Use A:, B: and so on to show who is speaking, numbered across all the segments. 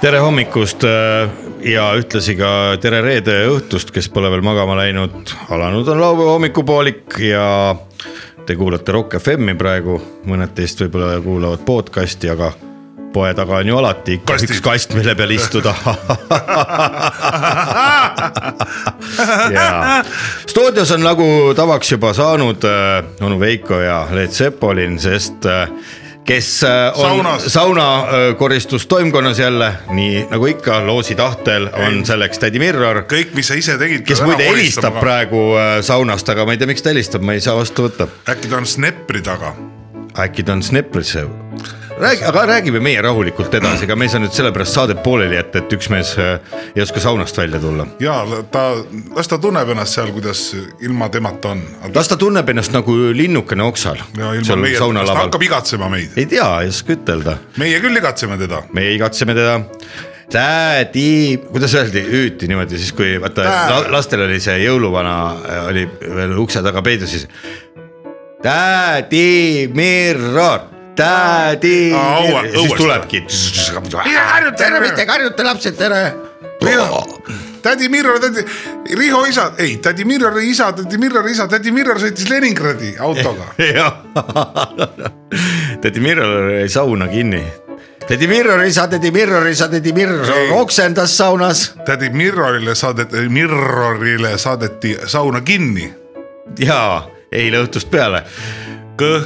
A: tere hommikust äh, ja ühtlasi ka tere reede õhtust , kes pole veel magama läinud . alanud on laupäeva hommikupoolik ja te kuulate Rock FM-i praegu . mõned teist võib-olla kuulavad podcast'i , aga poe taga on ju alati ikka
B: Kastid.
A: üks kast , mille peal istuda jaa , stuudios on nagu tavaks juba saanud äh, onu Veiko ja Leet Sepolin , sest äh, kes äh, on
B: Saunas.
A: sauna äh, koristustoimkonnas jälle , nii nagu ikka loosi tahtel on selleks tädi Mirror ,
B: kõik , mis sa ise tegid .
A: kes muide helistab . praegu äh, saunast , aga ma ei tea , miks ta helistab , ma ei saa vastu võtta .
B: äkki ta on snepri taga .
A: äkki ta on Snepris see ? räägi , aga räägime meie rahulikult edasi , ega me ei saa nüüd sellepärast saadet pooleli jätta , et üks mees äh, ei oska saunast välja tulla .
B: ja ta , las ta tunneb ennast seal , kuidas ilma temata on .
A: las ta tunneb ennast nagu linnukene oksal . seal
B: ta
A: saunalaval
B: hakkab . igatsema meid ,
A: ei tea , ei oska ütelda ,
B: meie küll igatseme teda .
A: meie igatseme teda . Tädi , kuidas öeldi , hüüti niimoodi siis , kui vaata
B: Tää-
A: la, lastel oli see jõuluvana äh, oli veel ukse taga peidus , siis . tädi Mirror , tädi .
B: Aa, õue-
A: ja siis
B: õuesti.
A: tulebki .
B: Mine harjuta ära, mis te
A: karjute lapsed ära .
B: tädi Mirror , tädi , Riho isa , ei tädi Mirrori isa , tädi Mirrori isa , tädi Mirror sõitis Leningradi autoga .
A: jah , tädi Mirror jäi sauna kinni . tädi Mirror isa , tädi Mirror isa , tädi
B: Ei.
A: Mirror oksendas saunas
B: tädi Mirrorile saadeti , Mirrorile saadeti sauna kinni .
A: ja eile õhtust peale .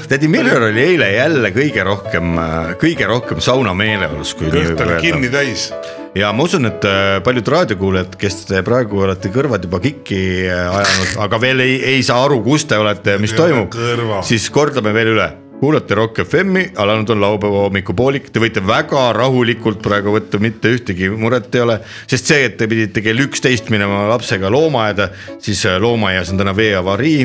A: tädi Mirror oli eile jälle kõige rohkem , kõige rohkem sauna meeleolus , kui nii
B: kõht
A: võib
B: oli
A: öelda .
B: kinni täis .
A: ja ma usun , et äh, paljud raadiokuulajad , kes te praegu olete kõrvad juba kikki äh, ajanud , aga veel ei , ei saa aru , kus te olete ja mis
B: Ja
A: toimub
B: kõrva. ,
A: siis kordame veel üle kuulate Rock FM-i , alanud on laupäeva hommikupoolik , te võite väga rahulikult praegu võtta , mitte ühtegi muret ei ole , sest see , et te pidite kell üksteist minema lapsega loomaaeda , siis äh, loomaaias on täna veeavarii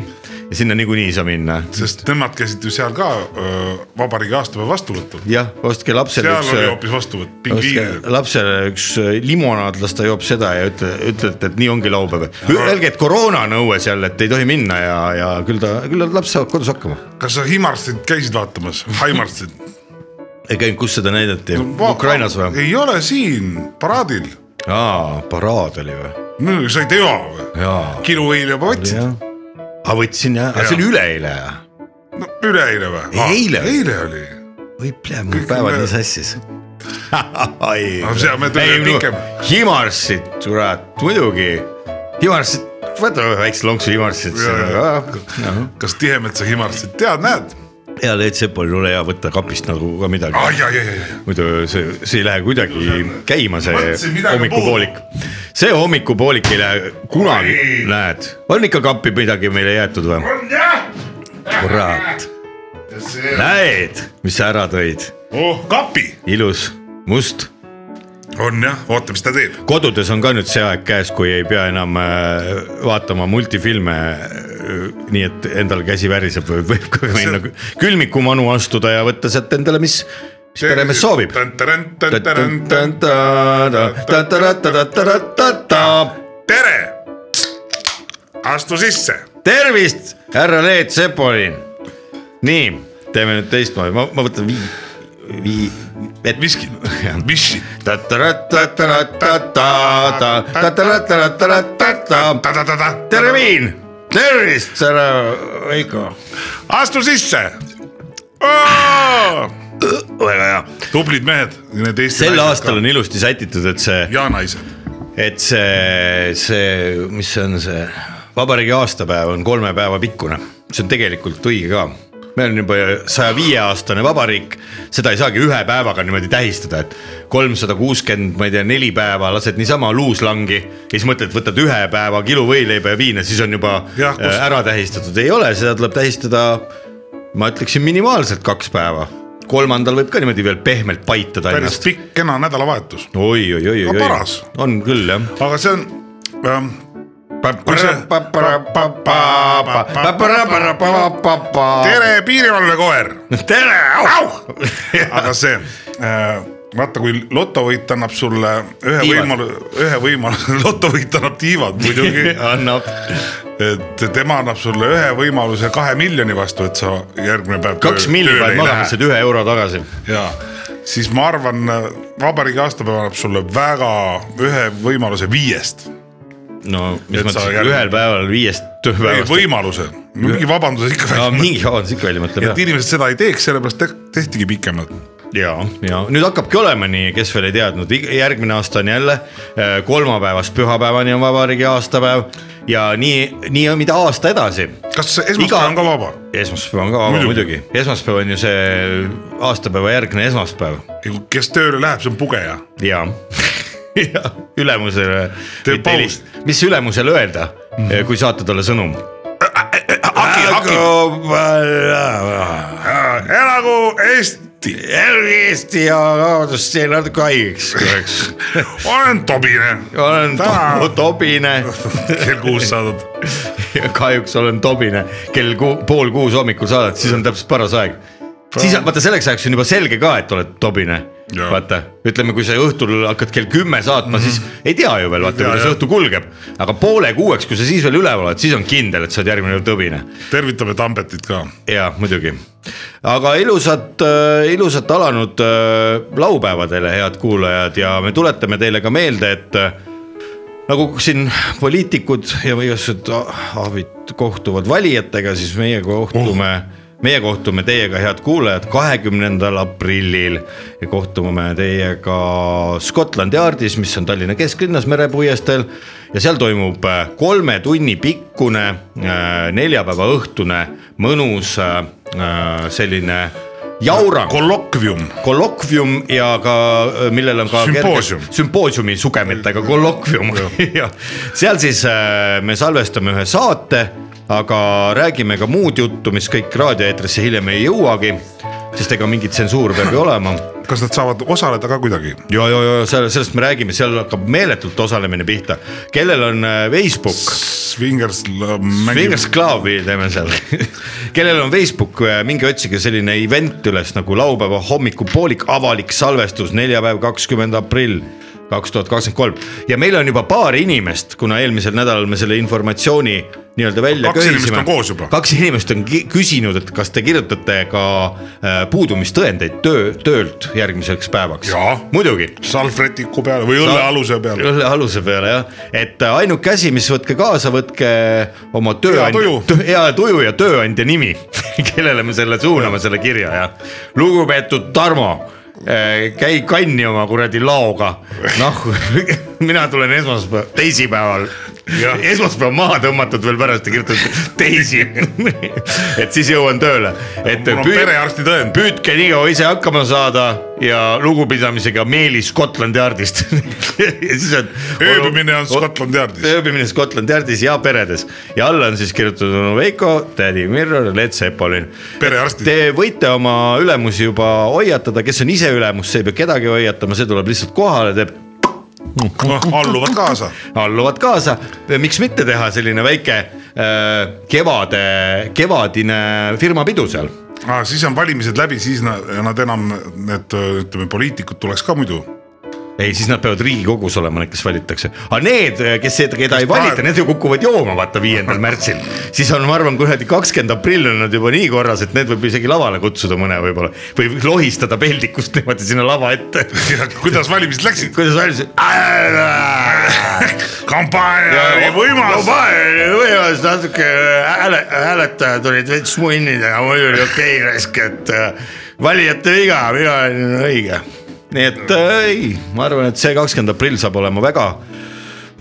A: ja sinna niikuinii ei saa minna .
B: sest nemad käisid ju seal ka öö, vabariigi aastapäeva vastuvõtul .
A: jah , ostke lapsele
B: seal
A: üks
B: oli
A: äh,
B: hoopis vastuvõtt ,
A: laske
B: pingviinidega .
A: lapsele üks äh, limonaad , las ta joob seda ja ütle , ütlete , et nii ongi laupäev . Öelge , et koroona on õues jälle , et ei tohi minna ja , ja küll ta , küll laps saab kodus hakkama .
B: kas sa Himarstit käisid vaatamas , Haimarstit ?
A: ei käinud , kus seda näidati , Ukrainas või ?
B: ei ole siin , paraadil .
A: aa , paraad oli või ?
B: sa ei tea või ?
A: jaa .
B: kiluõil juba võtsid ,
A: aa , võtsin jah , aga see oli üleeile ja ?
B: no, üleeile või
A: Ei, ? eile oli.
B: eile oli .
A: või plee , mul
B: Kõik
A: päevad nii
B: on üle- Ah,
A: sassis . ei
B: Aga seal me tulime
A: ei, no,
B: pikem.
A: Himarsit , kurat , muidugi . Himarsit , võtame väikse lonksu Himarsit .
B: Jaa, kas Tihemetsa Himarstit tead , näed ?
A: ja Leet Sepolil ole hea võtta kapist nagu ka midagi ,
B: ai , ai , ai , ai ,
A: muidu see , see ei lähe kuidagi käima , see
B: Mõtlesin, midagi on
A: hommikupoolik . see hommikupoolik ei lähe kunagi
B: Oi. ,
A: näed , on ikka kappi midagi meile jäetud või ?
B: on jah .
A: kurat ,
B: see on
A: näed , mis sa ära tõid ,
B: oh, kapi ,
A: ilus , must
B: on jah , oota , mis ta teeb .
A: kodudes on ka nüüd see aeg käes , kui ei pea enam äh, vaatama multifilme äh, nii , et endal käsi väriseb või võib ka minna
B: See-
A: külmikumanu astuda ja võtta sealt endale , mis , mis peremees soovib . tervist ,
B: tere , astu sisse ,
A: härra Leet Sepolin . nii , teeme nüüd teistmoodi , ma , ma võtan vii , vii , et .
B: viski , viski .
A: tere , Viin , tervist , härra Veiko .
B: astu sisse .
A: väga hea .
B: tublid mehed , need Eesti .
A: sel aastal on ilusti sätitud , et see ,
B: ja naised ,
A: et see , see , mis see on see vabariigi aastapäev on kolme päeva pikkune , see on tegelikult õige ka meil on juba saja viie aastane vabariik , seda ei saagi ühe päevaga niimoodi tähistada , et kolmsada kuuskümmend , ma ei tea , neli päeva lased niisama luuslangi ja siis mõtled , võtad ühe päeva kilo võileiba ja viina , siis on juba
B: Jah, kus-
A: äh, ära tähistatud , ei ole , seda tuleb tähistada ma ütleksin minimaalselt kaks päeva , kolmandal võib ka niimoodi veel pehmelt paitada
B: päris
A: ennast .
B: pikk kena nädalavahetus ,
A: oi , oi , oi ,
B: No
A: oi ,
B: paras.
A: on küll jah ,
B: aga see on ähm,
A: tere ,
B: tere , piirivalvekoer
A: tere , au .
B: aga see äh, , vaata , kui lotovõit annab sulle ühe
A: Tiivad.
B: võimaluse , ühe võimaluse , lotovõit annab tiivad muidugi ,
A: annab .
B: et tema annab sulle ühe võimaluse kahe miljoni vastu , et sa järgmine päev .
A: kaks miljonit paned magamasse , et ühe euro tagasi .
B: ja siis ma arvan , vabariigi aastapäev annab sulle väga ühe võimaluse viiest
A: no mis
B: Et sa
A: mõttes ,
B: järg-
A: ühel päeval viiest
B: või
A: tööpäevast .
B: võimaluse , mingi vabanduse ikka
A: no
B: välja .
A: mingi avaldus ikka välja mõtleb
B: et
A: jah .
B: inimesed seda ei teeks , sellepärast te- tehtigi pikemad .
A: ja , ja nüüd hakkabki olema nii , kes veel ei teadnud , järgmine aasta on jälle äh, kolmapäevast pühapäevani on vabariigi aastapäev ja nii , nii on mida aasta edasi .
B: kas esmaspäev on ka vaba ?
A: esmaspäev on ka vaba muidugi ,
B: Muidugi.
A: esmaspäev on ju see aastapäeva järgne esmaspäev
B: kes tööle läheb , see on pugeja .
A: ja , ja ülemusele .
B: Teeb pausi.
A: mis ülemusele öelda , kui saata talle sõnum ?
B: hagi , hagi . elagu Eesti ,
A: Eesti ja vabandust , jäin natuke haigeks korraks .
B: olen Tobine .
A: olen
B: Täna-
A: to Tobine ,
B: kell kuus saadad .
A: kahjuks olen Tobine , kell ku, pool kuus hommikul saadad , siis on täpselt paras aeg . siis on- vaata selleks ajaks on juba selge ka , et oled Tobine .
B: Jaa.
A: vaata , ütleme , kui sa õhtul hakkad kell kümme saatma mm , -hmm. siis ei tea ju veel , vaata
B: tea,
A: kuidas
B: jah.
A: õhtu kulgeb . aga poole kuueks , kui sa siis veel üleval oled , siis on kindel , et sa oled järgmine kord Tobine
B: tervitame Tambetit ka .
A: jaa , muidugi . aga ilusat , ilusat alanud äh, laupäeva teile , head kuulajad ja me tuletame teile ka meelde , et äh, nagu siin poliitikud ja igasugused ah- ahvid kohtuvad valijatega , siis meie kohtume oh. meie kohtume teiega , head kuulajad , kahekümnendal aprillil ja kohtume teiega Scotland Yardis , mis on Tallinna kesklinnas merepuiesteel ja seal toimub äh, kolme tunni pikkune äh, neljapäeva õhtune mõnus äh, äh, selline jaurang ,
B: kollokvium ,
A: kollokvium ja ka , millel on ka
B: Sümpoosium.
A: sümpoosiumi sugemetega kollokvium ja seal siis äh, me salvestame ühe saate , aga räägime ka muud juttu , mis kõik raadioeetrisse hiljem ei jõuagi , sest ega mingi tsensuur peab ju olema
B: kas nad saavad osaleda ka kuidagi ?
A: ja , ja , ja selle- sellest me räägime , seal hakkab meeletult osalemine pihta , kellel on äh, Facebook
B: Swingers l- mängib
A: Fingers Clubi teeme seal . kellel on Facebook , minge otsige selline event üles nagu laupäeva hommikupoolik avalik salvestus , neljapäev , kakskümmend aprill kaks tuhat kakskümmend kolm ja meil on juba paar inimest , kuna eelmisel nädalal me selle informatsiooni nii-öelda välja
B: Kaks inimest on koos juba.
A: kaks inimest on ki- küsinud , et kas te kirjutate ka äh, puudumistõendeid töö , töölt järgmiseks päevaks
B: Jaa. .
A: muidugi
B: salvrätiku peale või õllealuse peale .
A: õlle aluse peale jah , et äh, ainuke asi , mis võtke kaasa , võtke oma tööandja
B: tuju. ,
A: hea tuju ja tööandja nimi , kellele me selle suuname , selle kirja ja . lugupeetud Tarmo , käi kanni oma kuradi laoga , noh mina tulen esmaspäeval , teisipäeval .
B: Jah.
A: esmaspäev maha tõmmatud veel pärast ja kirjutatud teisi . et siis jõuan tööle , et
B: mul on
A: püü-
B: perearsti tõend .
A: püüdke nii kaua ise hakkama saada ja lugupidamisega Meelis Scotland Yardist . ja siis on .
B: ööbimine on Scotland Yardis .
A: ööbimine Scotland Yardis ja peredes ja alla on siis kirjutatud onu Veiko , tädi Mirror , Led Zeppelin .
B: Perearstid.
A: Te võite oma ülemusi juba hoiatada , kes on ise ülemus , see ei pea kedagi hoiatama , see tuleb lihtsalt kohale , teeb
B: Ah, alluvad kaasa .
A: alluvad kaasa , miks mitte teha selline väike äh, kevade , kevadine firmapidu seal
B: Ah, siis on valimised läbi , siis nad, nad enam , need ütleme , poliitikud tuleks ka muidu .
A: ei , siis nad peavad Riigikogus olema , need , kes valitakse , aga need , kes , keda ei
B: Kes
A: valita ,
B: praegu-
A: need ju kukuvad jooma , vaata viiendal märtsil . siis on , ma arvan , kuradi kakskümmend aprill on nad juba nii korras , et need võib isegi lavale kutsuda mõne võib-olla või lohistada peldikust niimoodi sinna lava ette .
B: kuidas valimised läksid ?
A: kuidas valmis ?
B: kampaania oli võimas .
A: võimas natuke hääle , hääletajad olid veits munnid , aga muidu oli okei okay, raisk , et äh, valijate viga , mina olin õige . nii et äh, ei , ma arvan , et see kakskümmend aprill saab olema väga ,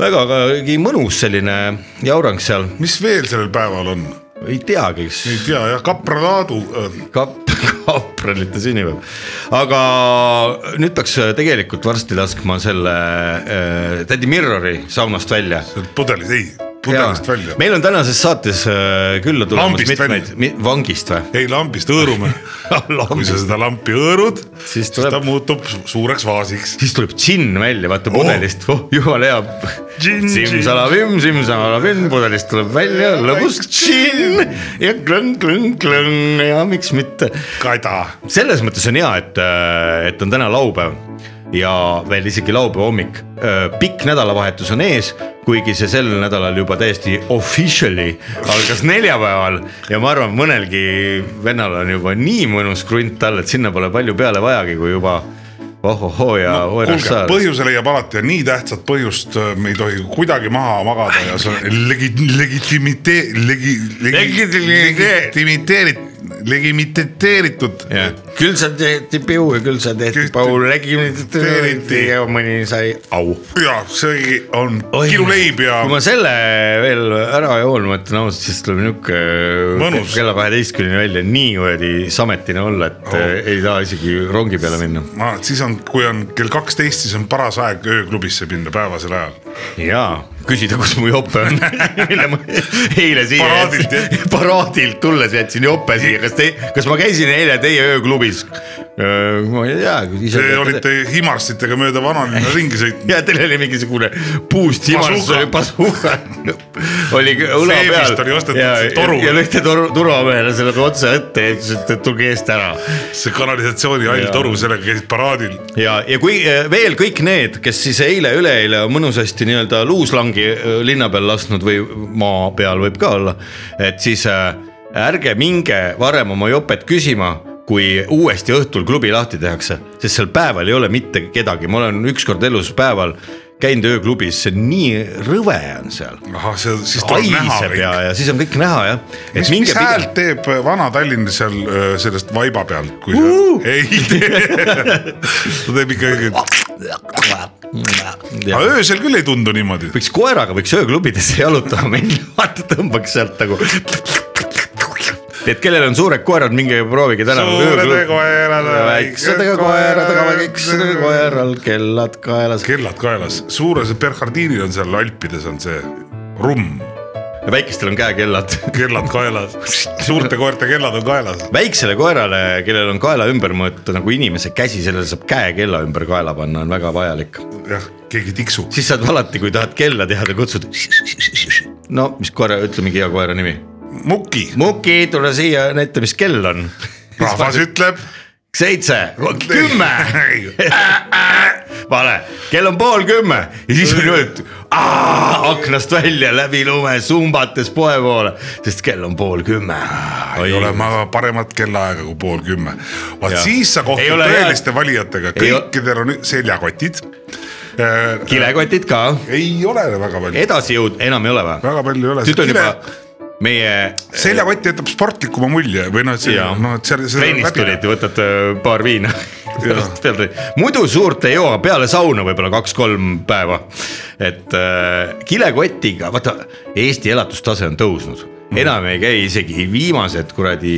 A: väga kuidagi mõnus selline jaurang seal ,
B: mis veel sellel päeval on ?
A: ei teagi , kas
B: ei tea jah , kapralaadu äh,
A: kap- , kapranite sünnipäev . aga nüüd peaks tegelikult varsti laskma selle äh, tädi äh, Mirrori saunast välja
B: seal pudelis , ei , pudelist välja .
A: meil on tänases saates äh, külla tulemas
B: Lambist
A: mitmeid
B: välja. ,
A: vangist või ?
B: ei lambist hõõrume kui sa seda lampi hõõrud ,
A: Siis
B: siis
A: tuleb-
B: ta muutub su- suureks vaasiks .
A: siis tuleb džinn välja , vaata pudelist oh. , oh jumala hea .
B: Džinn,
A: simsalabim , simsalabim , pudelist tuleb välja lõbus džinn ja klõng , klõng , klõng ja miks mitte .
B: kada .
A: selles mõttes on hea , et , et on täna laupäev ja veel isegi laupäeva hommik . pikk nädalavahetus on ees , kuigi see sel nädalal juba täiesti officially algas neljapäeval ja ma arvan , mõnelgi vennal on juba nii mõnus krunt all , et sinna pole palju peale vajagi , kui juba ohohoo ja no,
B: kuulge , põhjuse leiab alati ja nii tähtsat põhjust äh, me ei tohi kuidagi maha magada ja see on legi- , legitimite- , legi- , legi- ,
A: Legitimite-
B: legitimiteerit- , legimiteeritud .
A: Jah. küll sa tehti piu ja küll sa tehti
B: Küll-
A: Paul , regimenti ja mõni sai au .
B: ja see on kiluleib ja
A: kui ma selle veel ära joon , ma ütlen ausalt , siis tuleb niuke
B: Mõnus.
A: kella kaheteistkümneni välja niimoodi sametine olla , et oh. ei taha isegi rongi peale minna .
B: ma , siis on , kui on kell kaksteist , siis on paras aeg ööklubisse minna päevasel ajal .
A: ja küsida , kus mu jope on , mille ma eile siia
B: Paraadilt,
A: jätsin , paraadilt tulles jätsin jope siia , kas te , kas ma käisin eile teie ööklubis ? ma ei tea .
B: Te olite Himarstitega mööda vanalinna ringi sõitnud .
A: ja teil oli mingisugune puust himars
B: Bazooka. ,
A: pasuuka oli õla
B: See
A: peal
B: vist oli ostetud
A: ja,
B: toruga.
A: ja, ja lõite toru , turvamehele selle otse ette ja ütlesite , et tulge eest ära .
B: see kanalisatsiooni hall
A: Jaa.
B: toru , sellega käisid paraadil .
A: ja , ja kui eh, veel kõik need , kes siis eile-üleeile on mõnusasti nii-öelda luuslangi eh, linna peal lasknud või maa peal võib ka olla , et siis eh, ärge minge varem oma jopet küsima kui uuesti õhtul klubi lahti tehakse , sest seal päeval ei ole mitte kedagi , ma olen ükskord elus päeval käinud ööklubis , see nii rõve on seal .
B: ahah , see , siis tuleb näha
A: haiseb ja
B: kõik .,
A: ja siis on kõik näha jah .
B: mis , mis häält teeb äh, Vana-Tallinn seal öö, sellest vaiba pealt , kui
A: Uu!
B: sa , ei tee . ta teeb ikkagi , aga
A: pigem ?
B: öösel küll ei tundu niimoodi .
A: võiks koeraga võiks ööklubidesse jalutama minna , vaata tõmbaks sealt nagu . et kellel on suured koerad , minge proovige täna .
B: suured koerad ,
A: väiksed koerad , aga väiksed koeral kellad kaelas .
B: kellad kaelas , suures Bernhardiinil on seal Alpides on see rumm ,
A: väikestel on käekellad .
B: kellad kaelas , suurte koerte kellad on kaelas .
A: väiksele koerale , kellel on kaela ümbermõõt nagu inimese käsi , sellele saab käekella ümber kaela panna , on väga vajalik
B: jah , keegi tiksub ,
A: siis saad alati , kui tahad kella teada , kutsud . no mis koera , ütle mingi hea koera nimi .
B: muki ,
A: Muki , tule siia , näita , mis kell on .
B: rahvas ütleb .
A: seitse , kümme , vale , kell on pool kümme ja siis on niimoodi , et aa, aknast välja läbi lume sumbates poe poole , sest kell on pool kümme .
B: ei ole ma paremat kellaaega kui pool kümme . vaat
A: Jaa.
B: siis sa
A: Ei
B: kohtud
A: ole
B: tõeliste valijatega ,
A: Ei ole-
B: kõikidel on seljakotid .
A: kilekotid ka ,
B: ei ole väga palju ,
A: edasi jõud enam ei ole või ?
B: väga palju ei ole .
A: nüüd on juba meie
B: seljakott jätab sportlikuma mulje või noh , et see
A: Jaa. ,
B: noh , et see , see
A: trennist tulid , võtad öö, paar viina
B: Jah. .
A: muidu suurt ei joo , peale sauna võib-olla kaks-kolm päeva . et öö, kilekotiga , vaata Eesti elatustase on tõusnud ,
B: Mhm.
A: enam ei käi isegi viimased kuradi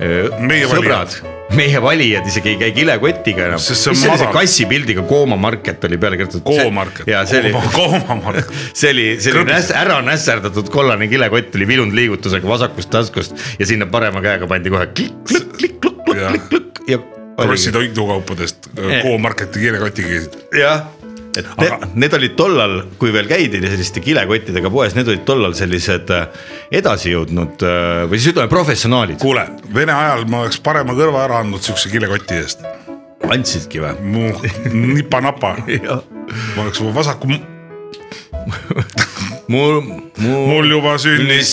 A: öö,
B: Meie
A: sõbrad , meie valijad isegi ei käi kilekotiga enam .
B: Sest see on
A: mis selle
B: madal.
A: kassipildiga Kooma market oli peale kirjutatud ?
B: koomarket ,
A: ja see oli
B: koomamarket .
A: see oli , see oli
B: Krõbis.
A: näs, ära nässerdatud kollane kilekott oli vilunud liigutusega vasakust taskust ja sinna parema käega pandi kohe
B: Jah.
A: klikk-klikk-klikk-klikk-klikk ja .
B: Krossi toidukaupadest
A: Eh.
B: K-Marketi kilekotiga käisid .
A: jah , et ne,
B: Aga-
A: need olid tollal , kui veel käidi selliste kilekottidega poes , need olid tollal sellised äh, edasijõudnud äh, või siis ütleme professionaalid .
B: kuule , Vene ajal ma oleks parema kõrva ära andnud siukse kilekoti eest .
A: andsidki või ?
B: mu nipa-napa , ma oleks mu vasaku ,
A: mul , mul
B: mul juba sünnis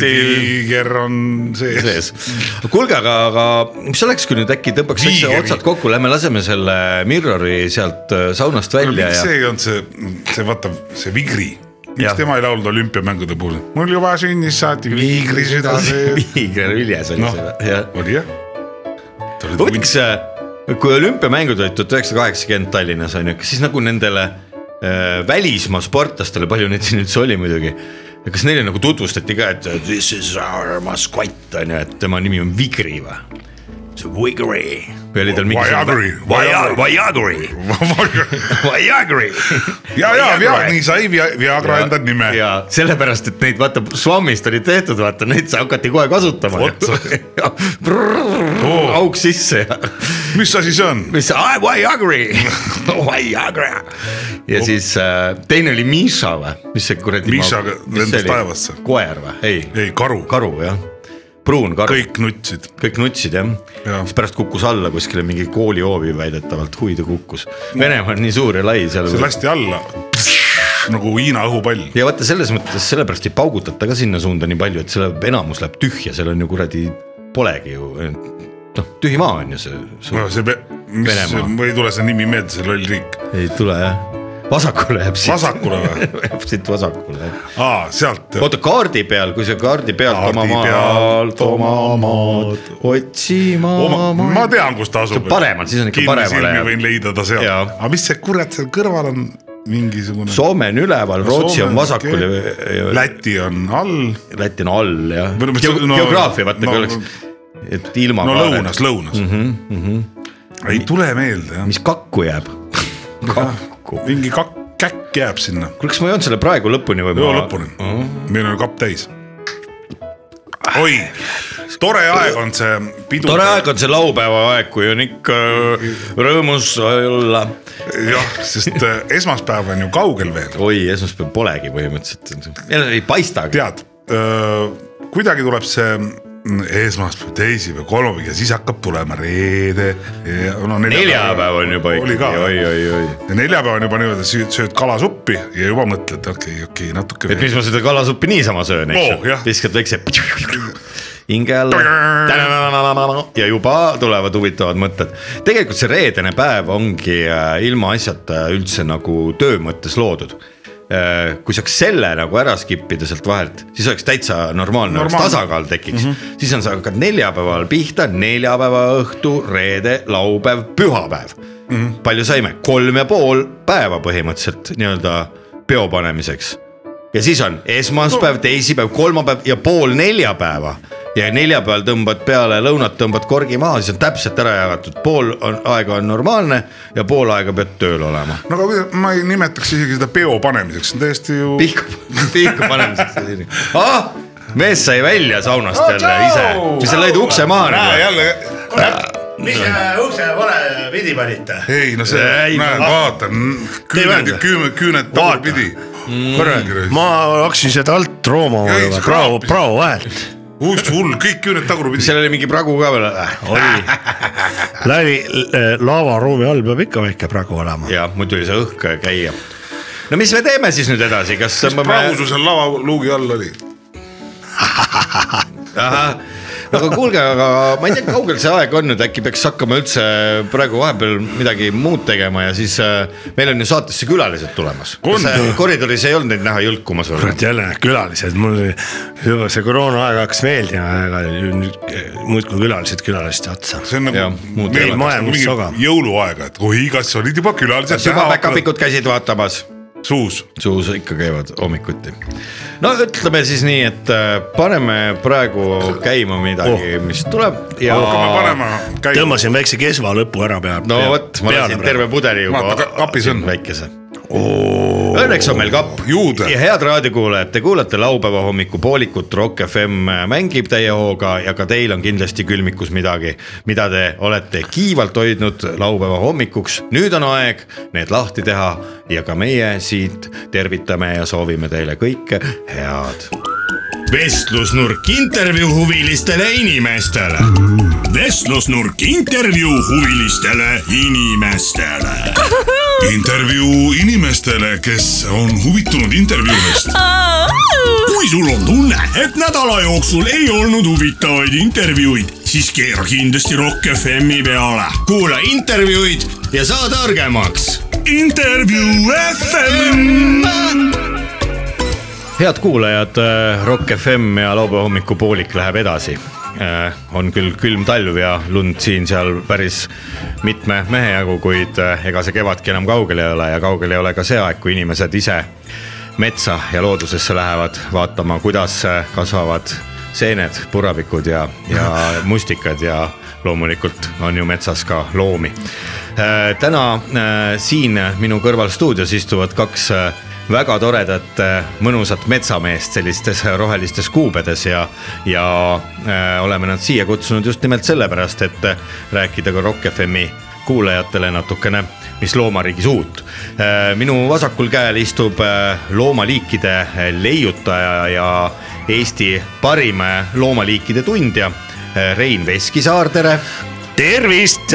A: saati
B: tiiger on sees .
A: sees . kuulge , aga , aga mis oleks , kui nüüd äkki tõmbaks täitsa
B: Tiigri.
A: otsad kokku , lähme laseme selle mirror'i sealt äh, saunast välja
B: miks
A: ja
B: see ei olnud see , see vaata , see Vigri , miks
A: Jah.
B: tema ei laulnud olümpiamängude puhul , mul juba sünnis saati Vigri süda sees .
A: Tiiger Viljas oli
B: Noh.
A: see või ? jah .
B: oli jah ?
A: võiks , kui olümpiamängud olid tuhat üheksasada kaheksakümmend Tallinnas on ju , kas siis nagu nendele äh, välismaa sportlastele , palju neid siin üldse oli muidugi , kas neile nagu tutvustati ka , et this is our mascot on ju , et tema nimi on Vigri või ? see Vigri . või oli tal mingi .
B: Viagri.
A: Viagri , Viagri .
B: ja , ja , ja nii sai Via- Viagra enda nime .
A: ja sellepärast , et neid vaata švammist olid tehtud , vaata neid sa hakati kohe kasutama
B: Vot. .
A: auk sisse ja
B: mis asi see on ?
A: mis see Viagri , Viagra . ja siis äh, teine oli Miša või , mis see kuradi .
B: Miša lendas taevasse.
A: koer või , ei ,
B: ei , karu .
A: karu jah , pruun karu .
B: kõik nutsid .
A: kõik nutsid jah ja.
B: Jah. ,
A: siis pärast kukkus alla kuskile mingi koolihoovi väidetavalt , huvi ta kukkus . Venemaa on nii suur ja lai seal .
B: Mm. see lasti alla nagu Hiina õhupall .
A: ja vaata selles mõttes sellepärast ei paugutata ka sinna suunda nii palju , et selle enamus läheb tühja , seal on ju kuradi , polegi ju noh , tühi maa on ju see, see. .
B: see , mis
A: Venemaa. ,
B: mul ei tule see nimi meelde , see loll riik .
A: ei tule jah , vasakule jääb siit .
B: Vasakule või ?
A: jääb siit vasakule jah .
B: aa , sealt .
A: oota kaardi peal , kui sa kaardi pealt
B: Kaardi
A: oma maalt
B: pealt
A: oma
B: oma
A: maad otsima
B: Oma,
A: maid.
B: ma tean , kus ta asub .
A: paremal, siis on ikka paremale
B: silmi
A: jääb.
B: võin leida ta sealt .
A: Jaa.
B: aga mis see kurat seal kõrval on , mingisugune .
A: Soome on üleval , Rootsi
B: Soome
A: on
B: on
A: vasakul ja,
B: okei.
A: ja
B: Läti on all ,
A: Läti on all jah
B: Või no mis-
A: Geo-
B: no-
A: geograafia vaata
B: no-
A: kui oleks , et ilma .
B: no lõunas , lõunas mm . -hmm, mm -hmm. ei tule meelde jah ,
A: Mhm, mis kakku jääb ? kakku .
B: mingi kak- , käkk jääb sinna .
A: kuule , kas ma ei olnud selle praegu lõpuni või ?
B: joo lõpuni mm , -hmm. meil on kapp täis . oi , tore aeg on see pidu .
A: tore aeg on see laupäeva aeg , kui on ikka rõõmus olla .
B: jah , sest äh, esmaspäev on ju kaugel veel ,
A: oi , esmaspäev polegi põhimõtteliselt , ei paistagi .
B: tead , kuidagi tuleb see mm, esmaspäev , teisipäev , kolmapäev ja siis hakkab tulema reede . No,
A: neljapäev
B: ah,
A: on juba
B: oli ka
A: ikkagi , oi , oi , oi .
B: ja neljapäev on juba niimoodi , et sööd kalasuppi ja juba mõtled , okei okay, , okei okay, , natuke
A: et mis ma seda kalasuppi niisama söön , eks
B: Oo, Oh, jah.
A: viskad väikse hinge alla ja juba tulevad huvitavad mõtted . tegelikult see reedene päev ongi äh, ilmaasjata üldse nagu töö mõttes loodud . kui saaks selle nagu ära skip ida sealt vahelt , siis oleks täitsa normaalne , oleks
B: Normaalne. Mhm.
A: tasakaal tekiks mm . -hmm. siis on , sa hakkad neljapäeval pihta , neljapäeva õhtu , reede , laupäev , pühapäev mm .
B: Mhm.
A: -hmm. palju saime , kolm ja pool päeva põhimõtteliselt nii-öelda peo panemiseks ja siis on esmaspäev no. , teisipäev , kolmapäev ja pool neljapäeva . ja neljapäeval tõmbad peale lõunat , tõmbad korgi maha , siis on täpselt ära jagatud , pool on, aega on normaalne ja pool aega pead tööl olema .
B: no aga kuidas- ma ei nimetaks isegi seda peo panemiseks , see on täiesti ju .
A: pihku , pihku panemiseks . ah , mees sai välja saunast jälle ise , mis sa lõid ukse maha nagu .
B: jälle ,
C: mis te ukse vale pidi panite ?
B: ei no see
A: Ei, ,
B: näed ,
A: ma-
B: vaata , küüned
A: mõelda. ,
B: küüned , küüned tagurpidi .
A: Mm.
C: ma hakkasin seda alt roomama
B: Ei,
C: juba
B: sa ,
C: prao ,
B: kraapis.
C: prao vahelt .
B: uus hull , kõik küüned tagurpidi .
A: seal oli mingi pragu ka veel . Ah,
C: oli läbi lavaruumi all peab ikka väike pragu olema .
A: ja muidu ei saa õhk käia . no mis me teeme siis nüüd edasi , kas
B: praegu sul seal lavaluugi all oli .
A: ahah , aga kuulge , aga ma ei tea , kaugel see aeg on nüüd , äkki peaks hakkama üldse praegu vahepeal midagi muud tegema ja siis äh, meil on ju saatesse külalised tulemas .
B: On.
A: koridoris ei olnud neid näha jõlkumas või ?
C: kurat jälle need külalised , mul oli- juba see koroonaaeg hakkas meeldima , aga nüüd äh, muudkui külalised külaliste otsa .
B: see on nagu
A: Jah, muud ei
B: meil
A: ole.
B: majandus
C: Mingi
B: soga. jõuluaega , et oi , kas olid juba külalised .
A: juba päkapikud käisid vaatamas ,
B: suus .
A: suus ikka käivad hommikuti . no ütleme siis nii , et äh, paneme praegu käima midagi oh. , mis tuleb ja .
B: hakkame panema käima .
C: tõmbasin väikse kesva lõpu ära pea .
A: no vot , ma lasin terve . pudeli juba .
B: Vaata, ka- kapis on.
A: väikese . Õnneks on meil kapp .
B: Juude.
A: ja head raadiokuulajad , te kuulate laupäeva hommikupoolikut , Rock FM mängib täie hooga ja ka teil on kindlasti külmikus midagi , mida te olete kiivalt hoidnud laupäeva hommikuks . nüüd on aeg need lahti teha ja ka meie siit tervitame ja soovime teile kõike head .
D: vestlusnurk intervjuu huvilistele inimestele . vestlusnurk intervjuu huvilistele inimestele .
B: intervjuu inimestele , kes on huvitunud intervjuudest .
D: kui sul on tunne , et nädala jooksul ei olnud huvitavaid intervjuuid , siis keera kindlasti Rock FM-i peale . kuula intervjuud ja saa targemaks . intervjuu FM .
A: head kuulajad , Rock FM ja laupäeva hommikupoolik läheb edasi . on küll külm talv ja lund siin-seal päris mitme mehe jagu , kuid äh, ega see kevadki enam kaugel ei ole ja kaugel ei ole ka see aeg , kui inimesed ise metsa ja loodusesse lähevad vaatama , kuidas äh, kasvavad seened , puravikud ja , ja mustikad ja loomulikult on ju metsas ka loomi . täna äh, siin minu kõrval stuudios istuvad kaks äh, väga toredat äh, mõnusat metsameest sellistes rohelistes kuubedes ja , ja äh, oleme nad siia kutsunud just nimelt sellepärast , et äh, rääkida ka Rock FM-i kuulajatele natukene , mis loomariigis uut . minu vasakul käel istub äh, loomaliikide leiutaja ja Eesti parim loomaliikide tundja äh, Rein Veskisaar , tere . tervist .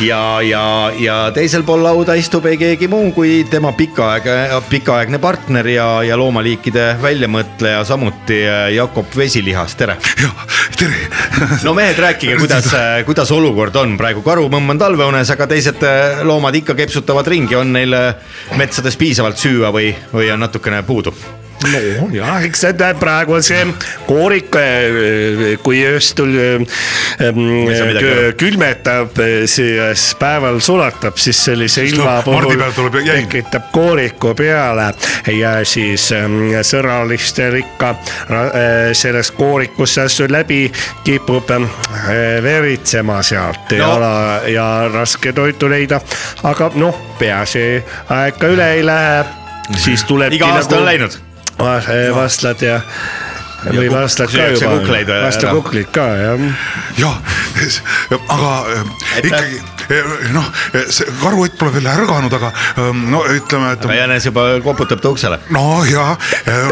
A: ja , ja , ja teisel pool lauda istub ei keegi muu kui tema pikaaegne , pikaaegne partner ja , ja loomaliikide väljamõtleja , samuti äh, Jakob Vesilihas , tere Äh,
B: tere ,
A: no mehed , rääkige , kuidas , kuidas olukord on praegu , karumõmm on talveunes , aga teised äh, loomad ikka kepsutavad ringi , on neil äh, metsades piisavalt süüa või , või on natukene puudu ?
E: no jah , eks seda praegu see koorik , kui ööstul ähm,
A: saa midagi
E: kö-
A: aru.
E: külmetab , siis päeval sulatab , siis sellise ilma
B: tuleb- mardi peal tuleb
E: puhul
B: jälg.
E: tekitab kooriku peale ja siis ähm, sõralistel ikka ra- äh, selles koorikus seast läbi kipub ähm, äh, veritsema sealt ja
A: No.
E: no. , ja raske toitu leida , aga noh , peaasi aeg ka üle ei lähe , siis
A: Mhm.
E: tulebki nagu
A: iga aasta on läinud .
E: Va- Ah, vastlad ja , või
A: kuk-
E: vastlad ka
A: süüakse
E: juba
A: kukleid , ära.
E: vastakuklid ka jah .
B: jah , aga äh,
A: Aitäh.
B: ikkagi äh, noh , see karuett pole veel ärganud , aga ähm, no ütleme , et
A: aga jänes juba koputab ta uksele .
B: no ja ,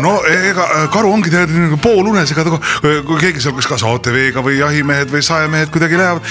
B: no ega äh, karu ongi tegelikult nagu poolunes , ega ta , kui keegi seal kas , kas ATV-ga või jahimehed või saemehed kuidagi lähevad ,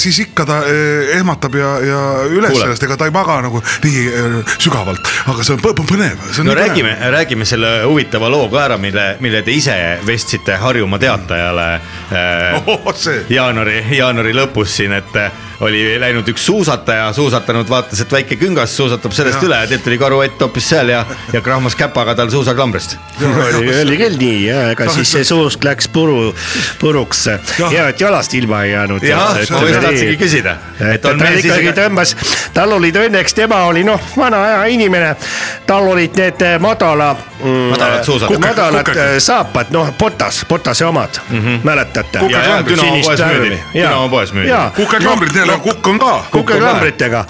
B: siis ikka ta eh, ehmatab ja , ja üles
A: Kuule.
B: sellest , ega ta ei maga nagu nii eh, sügavalt , aga see on põ- põ- põnev , see on
A: no
B: nii
A: räägime , räägime selle huvitava loo ka ära , mille , mille te ise vestsite Harjumaa Teatajale äh,
B: põnev . Oh, see ,
A: jaanuari , jaanuari lõpus siin , et äh, oli läinud üks suusataja , suusatanud , vaatas , et väike küngas suusatab sellest
B: Jah.
A: ja. üle ja teilt oli karuett hoopis seal ja , ja krahmas käpaga tal suusakambrist .
E: oli oli küll nii ja ega siis see suust läks puru , puruks
B: Jah.
E: ja et jalast ilma ei jäänud .
A: jah , ma just tahtsingi küsida ,
E: et tal ikkagi tõmbas , tal olid õnneks , tema oli noh , vana aja inimene , tal olid need eh, madala .
A: Madalad suusad. Kuked-
E: madalad
B: kuked.
E: eh, saapad , noh , Botas , Botase omad mm ,
A: Mhm.
E: -hmm. mäletate ?
A: Jaa, jaa, Dünamo poes müüdi. Dünamo poes müüdi.
B: kukekambrid , neil on kukk on ka .
E: kukekambritega ,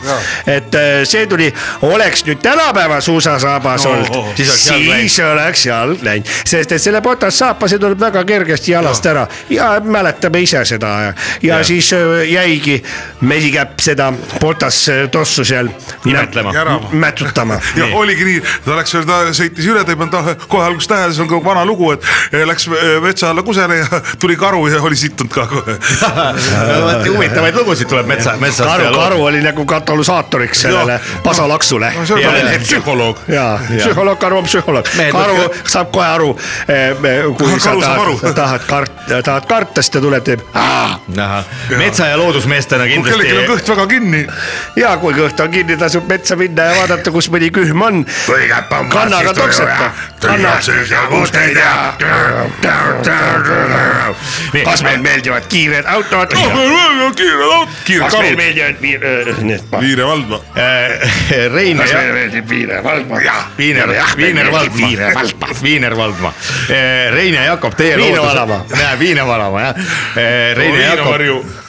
E: et eh, see tuli , oleks nüüd tänapäeva suusasaabas
B: No,
E: no, olnud
B: oh, oh. ,
A: Siis oleks
E: siis,
A: jalg
E: siis oleks jalg läinud , sest et selle botassaapa , see tuleb väga kergesti jalast ära ja mäletame ise seda ja, ja siis eh, jäigi mesikäpp seda botas eh, tossu seal
A: Imetlema.
B: Järama.
E: mät- mätsutama .
B: ja nii. oligi nii , ta läks , ta sõitis üle , ta ei pannud ta- kohe alguses tähele , see on ka vana lugu , et eh, läks eh, metsa alla kusele ja tuli karu ja oli sittunud ka kohe .
A: huvitavaid lugusid tuleb metsa , metsast .
E: karu , karu oli nagu katalüsaatoriks sellele pasalaksule
B: no see on
A: Jälle.
B: jälle psühholoog .
E: ja psühholoog , karu on psühholoog ,
A: Mehed
E: karu
A: võtavad-
E: saab kohe aru , kui
B: Karu
E: sa
B: saab aru.
E: tahad , tahad karta , tahad karta , siis ta tuleb , teeb
A: metsa ja loodusmeestena
B: mul
A: kindlasti
B: kellelgi on kõht väga kinni .
E: ja kui kõht on kinni , tasub metsa minna ja vaadata , kus mõni kühm on . kannaga toksata , kanna . kas meile meeldivad kiired autod ?
B: kiire
E: kas
B: karu ,
E: meile meeldivad viir- , need ,
B: kiire valdma .
A: Eh, Rein
E: kas
A: ja
E: meile meeldib Viire Valdma ?
A: Viiner , Viiner Valdma
E: Viire Valdma .,
A: Viiner Valdma , Rein ja Jakob , teie
E: Viino
A: loodus-
E: Vanamaa.
A: näe , Viino Vanamaa jah , Rein ja Jakob .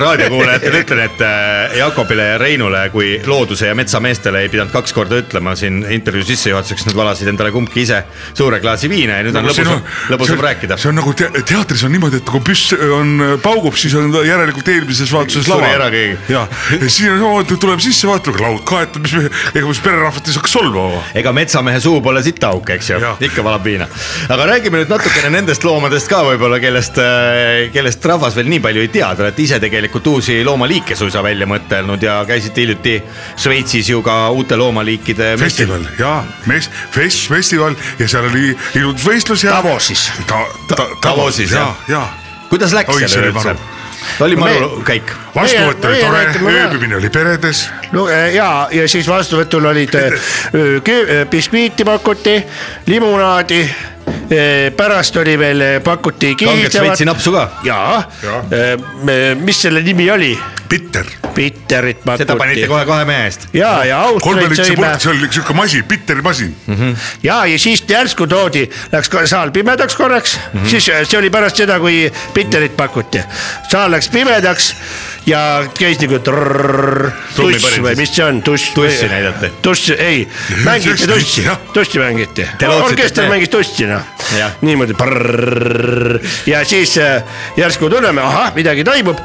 A: raadiokuulajatele ütlen , et eh, Jakobile ja Reinule kui looduse ja metsameestele ei pidanud kaks korda ütlema siin intervjuu sissejuhatuseks , nad valasid endale kumbki ise suure klaasi viina ja nüüd on lõbus , lõbus on rääkida .
B: see on nagu te teatris on niimoodi , et kui püss on , paugub , siis on ta järelikult eelmises vaatuses
A: Suri
B: lava .
A: ära keegi.
B: ja , ja siis on samamoodi , tuleb sisse , vaatab laud kaetud , mis , ega mis pererahvat ei saaks solvama .
A: ega metsamehe suu pole sitauk , eks ju
B: Jah. ,
A: ikka valab viina . aga räägime nüüd natukene nendest loomadest ka võib-olla , kellest , kellest rahvas veel nii palju ei tea , te olete ise tegelikult uusi loomaliike suisa välja mõtelnud ja käisite hiljuti Šveitsis ju ka uute loomaliikide .
B: festival ja mes- , fest- , festival ja seal oli ilus võistlus ja .
E: Davosis.
B: ta, . Ta,
A: Davosis, jah.
B: ja .
A: kuidas läks
B: Oi, see
A: sellele
B: oli
A: üldse
B: maru. ?
A: oli maru käik .
B: vastuvõtt oli
E: Meie- meie
B: tore ,
E: näitame ka.
B: ööbimine oli peredes .
E: no eh, ja , ja siis vastuvõtul olid eh, köö- eh, biskviiti pakuti , limonaadi , pärast oli veel , pakuti
A: kanget Šveitsi
E: kihisevat
A: napsu ka .
E: ja, ja. , mis selle nimi oli ?
B: bitter .
E: bitterit
A: seda panite
E: matuti .
A: kohe kahe mehe eest .
E: ja , ja Austriat
B: kolmeritsi
E: sõime
B: purk , see oli siuke masin , bitteri masin .
E: ja , ja siis järsku toodi , läks ka saal pimedaks korraks mm , -hmm. siis see oli pärast seda , kui bitterit pakuti . saal läks pimedaks ja käis nagu trrrr, tuss
A: Trummipõrin
E: või
A: siis.
E: mis see on , tuss .
A: Tussi näidati.
E: tuss , ei , mängiti
B: Just,
E: tussi
B: jah. ,
E: tussi mängiti
A: Te . lootsite,
E: orkester
A: et-
E: mängis tussi noh
A: Jah. ,
E: niimoodi prrrr. ja siis äh, järsku tunneme , ahah , midagi toimub .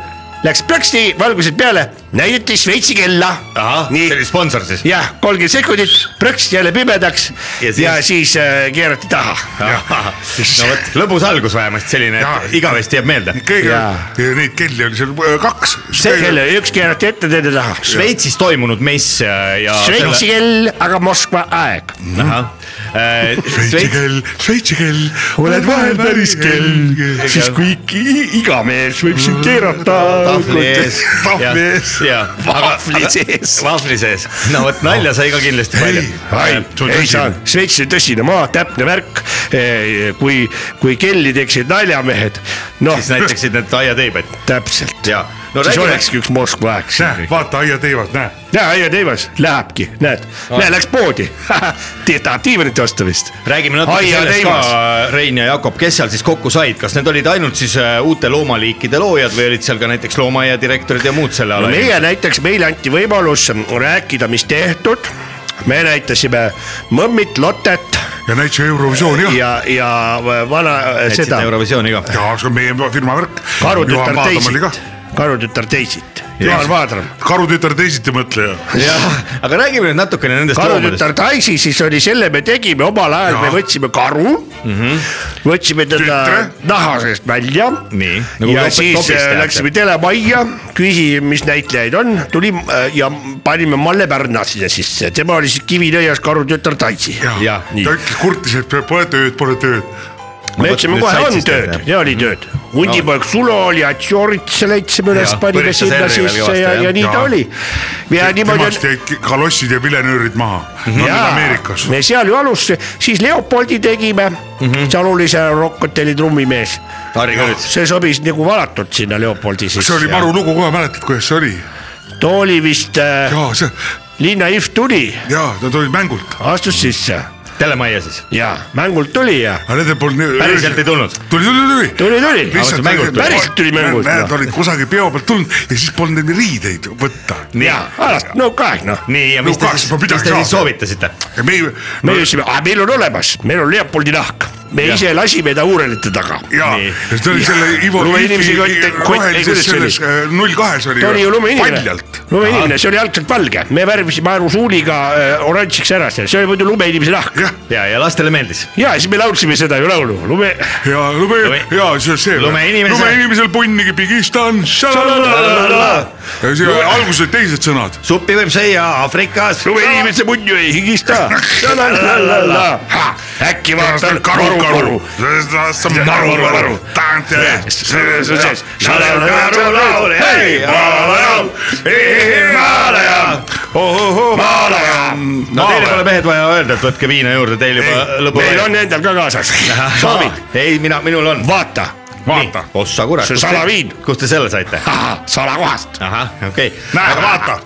E: Läks plõksti , valgused peale , näidati Šveitsi kella .
A: ahah , see oli sponsor siis .
E: jah , kolmkümmend sekundit , prõks jälle pimedaks ja
A: Ja
E: siis,
A: siis-
E: ja siis äh, keerati taha .
A: no vot , lõbus algus vähemasti selline ,
B: Jaa.
A: et igavesti jääb meelde .
B: kõige
E: Jaa. ,
B: neid kelli oli seal äh, kaks .
E: selle üks keerati ette , teine taha .
A: Šveitsis toimunud mess äh, ja- ja .
E: Šveitsi kell , aga Moskva aeg .
A: Äh,
B: Šveitsi
A: Šveits ,
B: kell , Šveitsi kell .
E: oled vahel päris kell , siis kui ik- iga mees võib
B: Mm.
E: sind keerata .
A: tahvli ees .
B: Tahvli ees.
E: Vahvli sees.
A: vahvli sees , no vot nalja sai ka kindlasti palju . Äh,
E: ei , ei saa , Šveits on tõsine maa , täpne värk . kui , kui kelli teeksid naljamehed , noh ,
A: siis näitaksid need aiateibed
E: täpselt .
A: ja . no
E: siis
A: räägime ,
E: olekski üks Moskva aeg siin
B: näe , vaata aiateivad , näe .
E: ja , ja teivas lähebki , näed , näe läks poodi , tahab diivanit osta vist .
A: räägime natuke
E: Aia
A: sellest
E: teivas.
A: ka , Rein ja Jakob , kes seal siis kokku said , kas need olid ainult siis äh, uute loomaliikide loojad või olid seal ka näiteks loomaaia direktorid ja muud selle
E: no
A: ala ?
E: meie näiteks , meile anti võimalus rääkida , mis tehtud , me näitasime mõmmit , lotet
B: ja näitasin Eurovisiooni jah .
E: ja , ja vana äh, seda
A: seda Eurovisiooni ka .
B: ja see on meie firma värk .
E: karutütar Daisy't , karutütar Daisy't , Juhan Vaadram .
B: karutütar teisiti mõtleja .
A: jah , aga räägime nüüd natukene nendest loomadest .
E: karutütar Daisy siis oli selle , me tegime omal ajal , me
B: Jah.
E: võtsime karu mm ,
A: Mhm.
E: -hmm. võtsime teda
B: Tütre.
E: naha seest välja .
A: Nii, nagu
E: ja
A: topis-
E: siis
A: topis
E: äh,
A: tehakse.
E: läksime telemajja , küsisime , mis näitlejaid on , tuli äh, ja panime Malle Pärna sinna sisse , tema oli siis Kivinõias karutütar Daisy .
A: Jah,
B: ta
A: nii.
B: ütles , kurtis , et pole tööd , pole tööd .
E: me
A: vot
E: ütlesime
A: nüüd
E: kohe
A: said
E: on
A: siis
E: tööd
A: teada.
E: ja oli tööd , hundipoeg Sulo oli , Atsioritse leidsime üles ,
A: Jah,
E: panime
A: põristas
E: sinna
A: Henrile
E: sisse
A: kõvasti,
E: ja ,
A: jah.
E: ja nii ta
B: Jaa.
E: oli . ja niimoodi on
B: temast jäid kalossid ja vilenöörid maha . Nad on
E: Jaa,
B: Ameerikas .
E: me seal ju alustasime , siis Leopoldi tegime mm , -hmm. seal oli see Rockotelli trummimees ,
A: Harri Kõrts ,
E: see sobis nagu valatult sinna Leopoldi sisse .
B: see oli maru lugu kohe , mäletad , kuidas see oli ?
E: too oli vist äh,
B: jaa , see ,
E: Linna If tuli ,
B: jaa , nad olid mängult .
E: astus sisse
A: telemajja siis .
E: ja mängult tuli ja
B: aga nendel polnud .
A: päriselt ei tulnud .
B: tuli , tuli , tuli .
E: tuli , tuli ,
B: lihtsalt
A: mängult tuli.
E: päriselt tuli mängult noh.
B: Nad
E: no. .
B: olid kusagilt peo pealt tulnud ja siis polnud neil riideid võtta .
E: ja alati , no kaeg noh ,
A: nii , ja
B: No
A: mis te
B: kaks
A: siis ,
B: ma
A: mis te
B: midagi
A: siis
B: saada.
A: soovitasite ?
B: ja meie ,
E: me ütlesime , meil on olemas , meil on Leopoldi nahk , me ja. ise lasime ta uurelite taga
B: jaa ,
A: Nii.
B: see oli selle Ivo
E: Lume inimesi
B: Liivi
E: kott- kott- ei,
B: rohelises
E: kuidas see oli?
B: selles äh, null kahes oli .
E: ta oli ju lumeinimene
B: paljalt .,
E: lumeinimene , see oli algselt valge , me värvisime aerusuuliga äh, oranžiks ära selle , see oli muidu lumeinimese nahk
B: jah ,
A: ja , ja lastele meeldis .
E: ja siis me laulsime seda ju laulu , lume .
B: ja lume
A: Lume- ,
B: ja see , see .
A: lumeinimese-
B: lumeinimesel punnigi pigistan . ja see alguses olid teised sõnad .
A: suppi võib süüa Aafrikas .
E: lumeinimese munju ei higista . äkki vaatan karu , karu .
B: maru , maru ,
A: no teil pole mehed vaja öelda , et võtke viina juurde , teil juba lõbu .
E: meil on endal ka kaasas , soovid ,
A: ei , mina , minul on .
E: vaata ,
B: vaata ,
A: ossa kurat .
E: See on salaviin.
A: kust te selle saite ?
E: salakohast .
A: ahah , okei okay. .
B: näe , vaata ,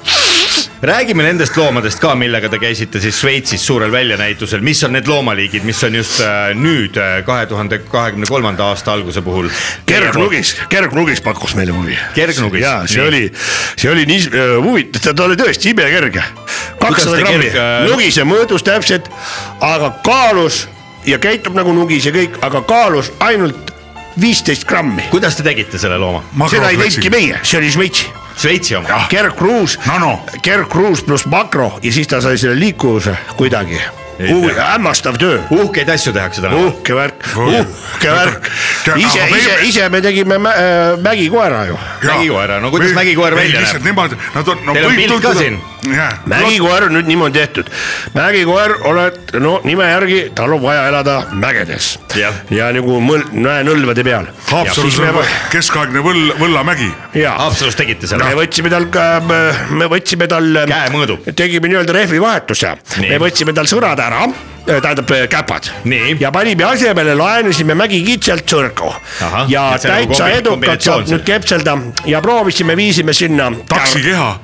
A: räägime nendest loomadest ka , millega te käisite siis Šveitsis suurel väljanäitusel , mis on need loomaliigid , mis on just äh, nüüd kahe tuhande kahekümne kolmanda aasta alguse puhul .
E: kergnugis , kergnugis pakkus meile huvi .
A: Kergnugis?
E: ja see
A: Nii.
E: oli , see oli nii äh, huvitav , ta oli tõesti imekerge . kakssada
A: ta
E: grammi
A: kerg- ,
E: nugise mõõdus täpselt , aga kaalus ja käitub nagu nugis ja kõik , aga kaalus ainult viisteist grammi .
A: kuidas te tegite selle looma ?
E: seda ei teinudki meie , see oli Šveitsi .
A: Šveitsi oma ?
E: kergkruus
B: Nano. ,
E: kergkruus pluss makro ja siis ta sai selle liikuvuse kuidagi . hämmastav töö
A: uhkeid asju tehakse täna uh. .
E: uhke värk ,
B: Oi.
E: uhke värk
B: Tead, .
E: ise ,
B: aga
E: ise ,
B: meil-
E: ise me tegime mä- äh, mägikoera ju .
A: mägikoera , no kuidas mägikoer välja
B: näeb ?
A: näeb ?
B: Nemad , nad on , no
A: Teil on pilt ka siin?
B: jah ,
E: mägikoer on nüüd niimoodi tehtud . mägikoer oled , no nime järgi , tal on vaja elada mägedes
A: Jah.
E: ja nagu mõl- , mäenõlvade peal .
B: Haapsalus on keskaegne võll , Võllamägi .
E: ja
A: Haapsalus tegite
E: me
A: selle ?
E: võtsime tal ka , me võtsime tal . ähm,
A: Käemõõdu.
E: tegime nii-öelda rehvivahetuse ,
A: Nii.
E: me võtsime tal sõrad ära tähendab äh, käpad
A: Nii. .
E: ja panime asemele , laenasime mägikitsalt sõrgu .
A: Ahah,
E: ja
A: et see nagu
E: täitsa
A: kombi-
E: edukalt
A: kombinatsioon
E: saab
A: seal.
E: nüüd kepselda ja proovisime , viisime sinna .
B: taksi keha .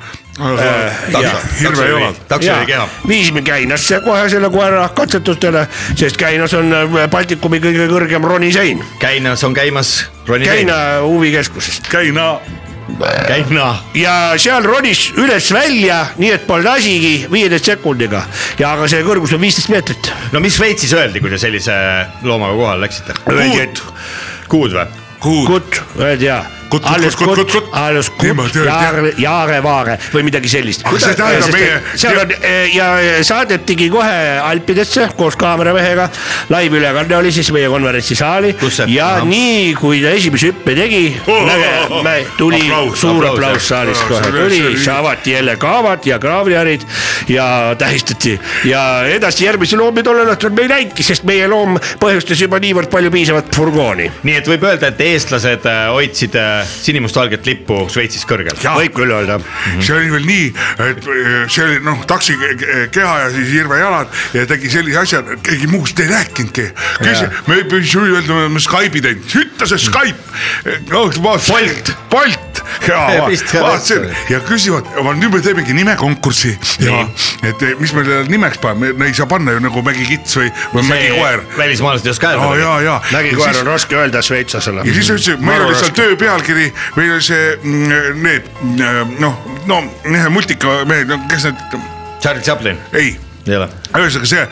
E: E.
B: hirvejalad.
A: taksori keha .
E: viisime Käinasse kohe selle koera katsetustele , sest Käinas on äh, Baltikumi kõige kõrgem ronisein .
A: Käinas on käimas Roni Sein .
E: Käina huvikeskusest .
B: käina .
A: Käina .
E: ja seal ronis üles-välja , nii et polnud asigi viieteist sekundiga ja aga see kõrgus on viisteist meetrit .
A: no mis Šveitsis öeldi , kui te sellise loomaga kohale läksite ?
E: Öeldi, et-
A: kuud või ?
B: kuhu ?
E: kutt , öeldi ja .
B: Kutt, kutt,
E: alles
B: kutt, kutt,
E: kutt
B: kutt. ,
E: alles
B: Niimoodi
E: kutt ,
B: öeldi, jah.
E: jaare , jaarevaare või midagi sellist
B: Aga . see tähendab meie-
E: seal on eh, ja eh, saadetigi kohe Alpidesse koos kaameramehega , laivülekanne oli siis meie konverentsisaali
A: Kus see-
E: ja
A: ahah.
E: nii , kui ta esimese hüppe tegi
B: Oo, ,
E: tuli
B: aplaus,
E: suur
A: aplaus,
E: aplaus saalis
B: Aplaus,
E: kohe
B: see oli- see
E: tuli
B: oli- ,
E: avati jälle kaavad ja kraavliharid ja tähistati ja edasi järgmisi loomi tollel õhtul me ei näinudki , sest meie loom põhjustas juba niivõrd palju piisavat furgooni .
A: nii et võib öelda , et eestlased äh, hoidsid äh, sinimustvalget lippu Šveitsis kõrgel .
E: võib küll öelda .
A: Mhm.
B: see oli veel nii , et eh, see oli noh , taksi ke- ke- keha ja siis hirvejalad ja tegi sellise asja , et keegi muust ei rääkinudki . me ei püüdnud öelda , me oleme Skype'i teinud , ütle see Skype . Bolt . Bolt
A: Ja
B: ja
A: pistke
B: vaatasin
A: ratta.
B: ja küsivad , nüüd me teemegi nimekonkurssi ja et eh, mis me sellele nimeks paneme , me ei saa panna ju nagu mägikits või , või mägikoer .
A: välismaalased ei oska
B: ja ,
A: öelda .
B: ja , ja .
E: nägikoer on raske öelda šveitslasele .
B: ja siis ütles , et meil oli seal töö pealkiri , meil oli see mm, need mm, noh , no ühe multika mehed , kes need ,
A: Charles Chaplin .
B: ei ,
A: ei ole .
B: ühesõnaga see ,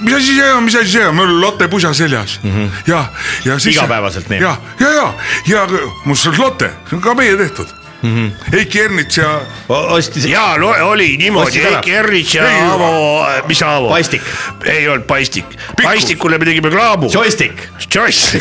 B: mis asi see on , mis asi see on , mul oli Lotte pusa seljas mm -hmm. ja , ja siis .
A: Igapäevaselt nii.
B: ja , ja , ja , ja mul see Lotte , see on ka meie tehtud mm . -hmm. Heiki Ernits ja
A: ostis .
E: ja no, oli niimoodi
A: Ostsid , ära?
E: Heiki Ernits ja
B: Ei,
E: Aavo , mis Aavo ?
A: Paistik.
E: ei olnud Paistik , Paistikule me tegime kraamu .
A: Joystick .
E: Choice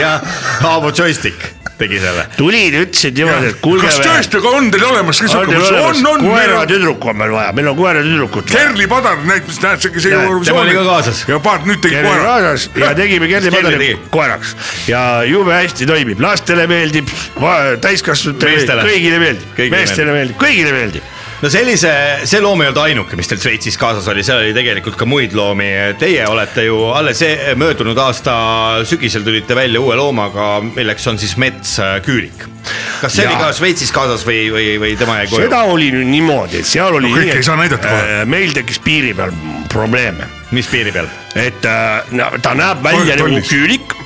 A: jah , Aavo Joystick tegi selle .
E: tulid , ütlesid niimoodi , et kuulge .
B: kas tõesti aga on teil olemas , kes hakkab , on , on , meil on
E: koeratüdruk on meil vaja , meil on koeratüdrukut .
B: Kerli Padar näiteks , näed , see , kes
E: Jaa,
A: tema oli ka kaasas.
B: ja paar nüüd tegi
E: Kerli
B: koera .
E: kaasas ja tegime Kerli
A: Kerli
E: Padari
A: tegi.
E: koeraks ja jube hästi toimib , lastele meeldib , täiskasvanutele
A: Meestele.
E: meeldib , kõigile meeldib ,
A: Kõigile
E: meestele meeldib , kõigile meeldib .
A: no sellise , see loom ei olnud ainuke , mis teil Šveitsis kaasas oli , seal oli tegelikult ka muid loomi . Teie olete ju alles e- möödunud aasta sügisel tulite välja uue loomaga , milleks on siis metsküülik . kas see ja. oli
E: Jaa.
A: ka Šveitsis kaasas või , või , või tema jäi koju ?
E: seda oli nüüd niimoodi , et seal oli
B: No kõike ei saa näidata kohe.
E: äh, meil tekkis piiri peal probleeme ,
A: mis piiri peal ?
E: et äh, na- ta näeb välja nagu
B: tollis.
E: küülik .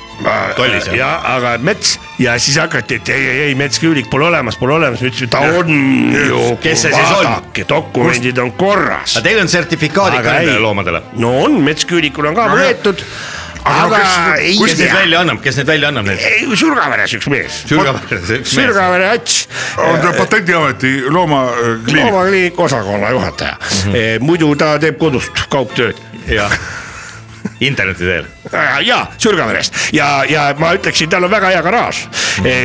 A: Tollis, jah.
E: ja , aga mets ja siis hakati , et ei , ei , ei metsküülik pole olemas , pole olemas , me ütlesime , ta on ju .
A: Kes see siis on?
E: dokumendid on korras
A: aga . teil on sertifikaadid ka nendele loomadele ?
E: no on , metsküülikul on ka
B: No
E: võetud ,
B: Aga no
E: aga
B: kes-
E: ei
A: kes need
E: tea ,
A: välja annab , kes need välja annab need ?
E: Sürgaveres üks mees ,
A: sürgaveres üks mees .
E: Sürgavere Ats .
B: on ta äh, Patendiameti loomakliinik .
E: loomakliiniku osakonna juhataja mm ,
B: Mhm.
E: -hmm. muidu ta teeb kodust kaugtööd
A: jah , interneti teel .
E: ja Sürgaverest ja , ja ma ütleksin , tal on väga hea garaaž ,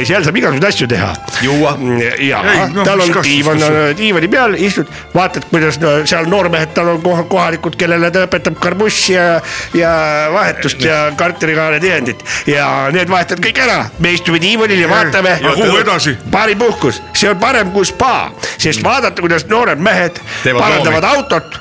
E: seal saab igasuguseid asju teha .
A: Juua.
E: ja
B: Mhm. Ei, noh,
E: tal on
B: mis kastis-
E: diivan , diivani peal istud , vaatad , kuidas no, seal noormehed , tal on koha- kohalikud , kellele ta õpetab karbussi ja , ja vahetust ja kartulikaane tihendit ja need vahetad kõik ära , me istume diivanil ja vaatame .
B: ja kuhu edasi?
E: baaripuhkus , see on parem kui spa , sest vaadata , kuidas noored mehed
A: Teevad
E: parandavad
A: loomi.
E: autot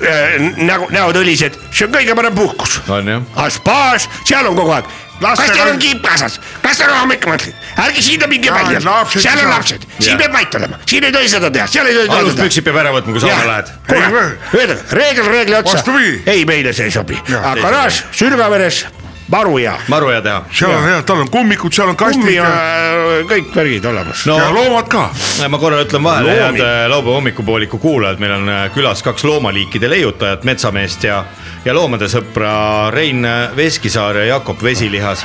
E: eh, nägu , näod õlised , see on kõige parem puhkus
A: on jah .
E: aga spaas , seal on kogu aeg . kas
B: Lastega
E: teil
B: on-
E: on kiip kaasas , kas te raha hommikul mõtlete , ärge sinna minge
B: Jaa,
E: välja
B: lapsed ,
E: seal
B: ei
E: on
B: saa.
E: lapsed , siin
A: Jah.
E: peab vait olema , siin ei tohi seda teha , seal ei tohi toiduda
A: aluspüksid peab ära võtma , kui sauna lähed .
E: ühesõnaga reegel reegli otsa
B: Vastupidi. ,
E: ei meile see ei sobi , aga
A: ei
E: garaaž Sürgaveres , maru hea ,
A: maru hea teha .
B: seal on hea , tal on kummikud , seal on kastid
E: kummi ja
B: ja,
E: kõik värgid olemas .
A: no
B: ja loomad ka .
A: Ja Äh, ma korra ütlen vahele , head
E: Loomi.
A: äh, laupäeva hommikupooliku kuulajad , meil on äh, külas kaks loomaliikide leiutajat , metsameest ja , ja loomade sõpra Rein äh, Veskisaar ja Jakob Vesilihas .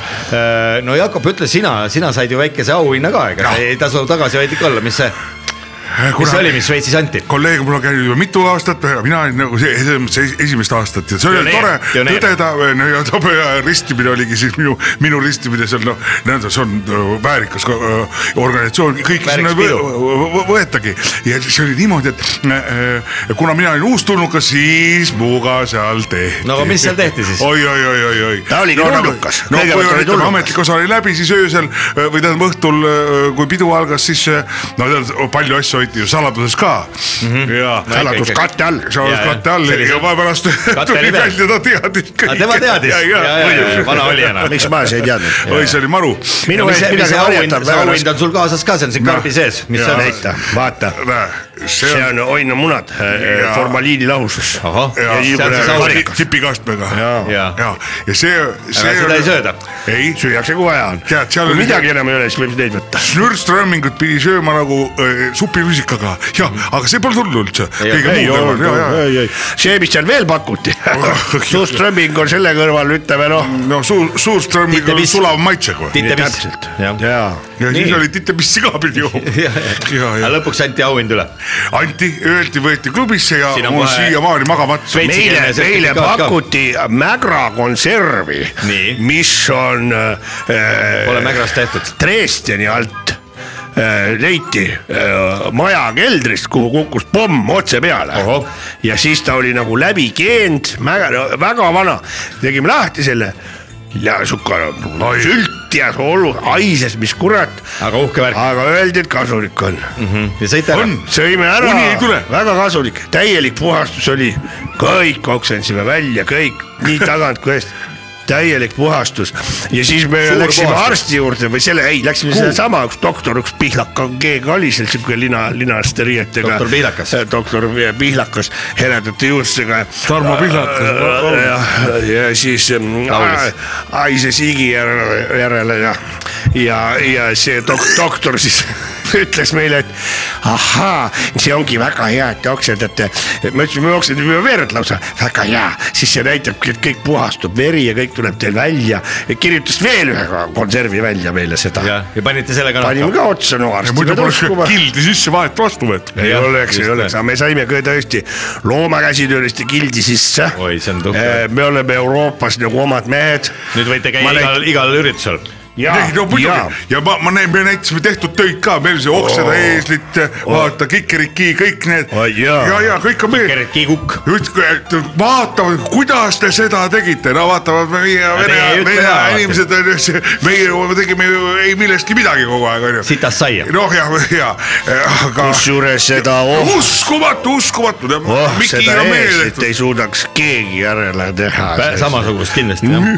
A: no Jakob , ütle sina , sina said ju väikese auhinna ka , ega no. ei tasu tagasihoidlik olla , mis see , mis see oli , mis Šveitsis anti ?
B: kolleeg mul on käinud juba mitu aastat , mina olin nagu see, selles mõttes es- esimest aastat ja see oli
A: Pioneer,
B: tore
A: pioneer.
B: tõdeda , no ja tobe ja ristimine oligi siis minu , minu ristimine seal noh , nii-öelda see on öö, väärikas ko- öö, organisatsioon , kõik
A: Väärikas
B: sinna
A: pidu.
B: võ- võ- võ- võetagi ja siis oli niimoodi , et äh, äh, kuna mina olin uustulnukas , siis muuga seal tehti .
A: no aga mis seal tehti siis ?
B: oi-oi-oi-oi-oi .
E: Ta oligi tulnukas.
B: no
E: Kõigepealt
B: kui
E: oli
B: ütleme
E: tulnukas.
B: ametlik äh, osa oli läbi , siis öösel öö, või tähendab õhtul , kui pidu algas , siis öö, äh, no tead , palju asju hoiti ju saladuses ka mm . -hmm. ja
E: salatus
A: ikkagi.
E: katte all .
B: saladus
A: Mhm. Jaa,
B: katte all
A: see oli
B: ja
A: see-
B: vahepärast
A: Katte oli
B: tuli
A: peal.
B: välja , ta teadis
A: aga
B: kõike .
A: tema teadis , vana oli enam .
E: miks ma siis ei teadnud ?
B: oi , see oli maru .
E: minu
A: mis
E: eest
A: see , mis
E: midagi
A: see auhind ,
E: varjatab
A: see
E: väga
A: auhind
E: raske .
A: on sul kaasas ka , see on siin karbi sees , mis see
B: jaa.
A: on ?
E: näita , vaata ,
B: see
E: see
B: on
E: on oinamunad ,
B: Jaa.
E: formaliini äh, lahusus .
A: ahah ,
B: jaa,
A: see on siis
B: jaa,
A: auhind .
B: tipikastmega . ja ,
A: Jaa.
B: ja see , see .
A: seda ei sööda. .
B: ei ,
E: süüakse kohe ära .
B: Tead, seal
E: kui
B: oli-
E: midagi enam ei ole , siis võib neid võtta .
B: Schnürströmmingut pidi sööma nagu äh, supilusikaga , jah , aga see pole tulnud üldse .
E: ei olnud , ei , ei , see , mis seal veel pakuti , suuströmming on selle kõrval , ütleme noh ,
B: no suur ,
A: Titte
B: suurströmmiga
A: piss.
B: sulava maitsega või ?
A: titepiss . jah ,
E: jaa .
B: ja siis
A: Nii.
B: oli titepissi ka pidi jooma . ja ,
A: aga
B: ja
A: lõpuks anti auhind üle .
B: anti , öeldi , võeti klubisse ja
A: Siin on
B: mul
A: kohe-
B: siiamaani magamata .
A: Veits-
E: meile ,
A: Veitsikeelne
E: meile
A: sertifikaat ka.
E: pakuti mägrakonservi
A: Nii. ,
E: mis on äh,
A: Pole mägrast tehtud .
E: Dresdeni alt äh, leiti äh, maja keldrist , kuhu kukkus pomm otse peale
A: Ohoh. .
E: ja siis ta oli nagu läbi keend , väga vana , tegime lahti selle ja sihuke sült ja soolu haises , mis kurat ,
A: aga uhke värk .
E: aga öeldi , et kasulik on mm . -hmm.
A: ja sõita ära .
E: sõime ära
B: Uni ei tule. ,
E: väga kasulik , täielik puhastus oli , kõik oksendasime välja , kõik nii tagant kui eest täielik puhastus ja siis me Suur
A: Suur
E: läksime puhastus.
A: puhastus.
E: arsti juurde või selle , ei , läksime sedasama , üks doktor , üks pihlaka keegi oli seal siuke lina , linaste riietega .
A: Doktor Pihlakas.
E: doktor Pihlakas , heledate juustega .
B: Tarmo Pihlakas, palun.
E: ja , ja siis mm,
A: Laulis.
E: a- haises higi järele, järele ja , ja , ja see dok- , doktor siis ütles meile , et ahaa , see ongi väga hea , et te oksendate . me ütlesime , me oksendame verd lausa , väga hea , siis see näitabki , et kõik puhastub , veri ja kõik tuleb teil välja . kirjutas veel ühe konservi välja meile seda .
A: ja , ja panite selle ka
E: panime
A: nahka .
E: ka otsa , no arst .
B: muidu poleks kildi sisse vahet vastu võetud .
E: ei
A: Jah,
E: oleks , ei
A: just
E: oleks ,
A: nii.
E: aga me saime ka tõesti loomakäsitööliste gildi sisse .
A: Oi, see on tuhk.
E: me oleme Euroopas nagu omad mehed .
A: nüüd võite käia
E: Ma näit-
A: igal , igal üritusel .
E: ja
B: ei , no , muidugi
E: ja
B: ja, , ja ma , ma näen , me näitasime tehtud töid ka , meil see okseda
E: Oo.
B: oh. eeslit , vaata kikeriki , kõik need
E: Oi,
B: ja
E: jaa. ,
B: ja kõik on meil .
A: Gerrit Kiigukk .
B: ütle , et vaatavad , kuidas te seda tegite , no vaatavad meie vene
A: teie ei , ütle
B: vene
A: ära, vaata.
B: inimesed on ju , meie ju tegime ju ei millestki midagi kogu aeg on ju .
A: sitast saia .
B: noh , ja , ja aga .
E: kusjuures seda oh, ,
B: uskumatu , uskumatu ,
E: oh ,
B: Miki
E: seda
B: on meile
E: eeslit
B: tehtud .
E: ei suudaks keegi järele teha .
A: samasugust kindlasti jah .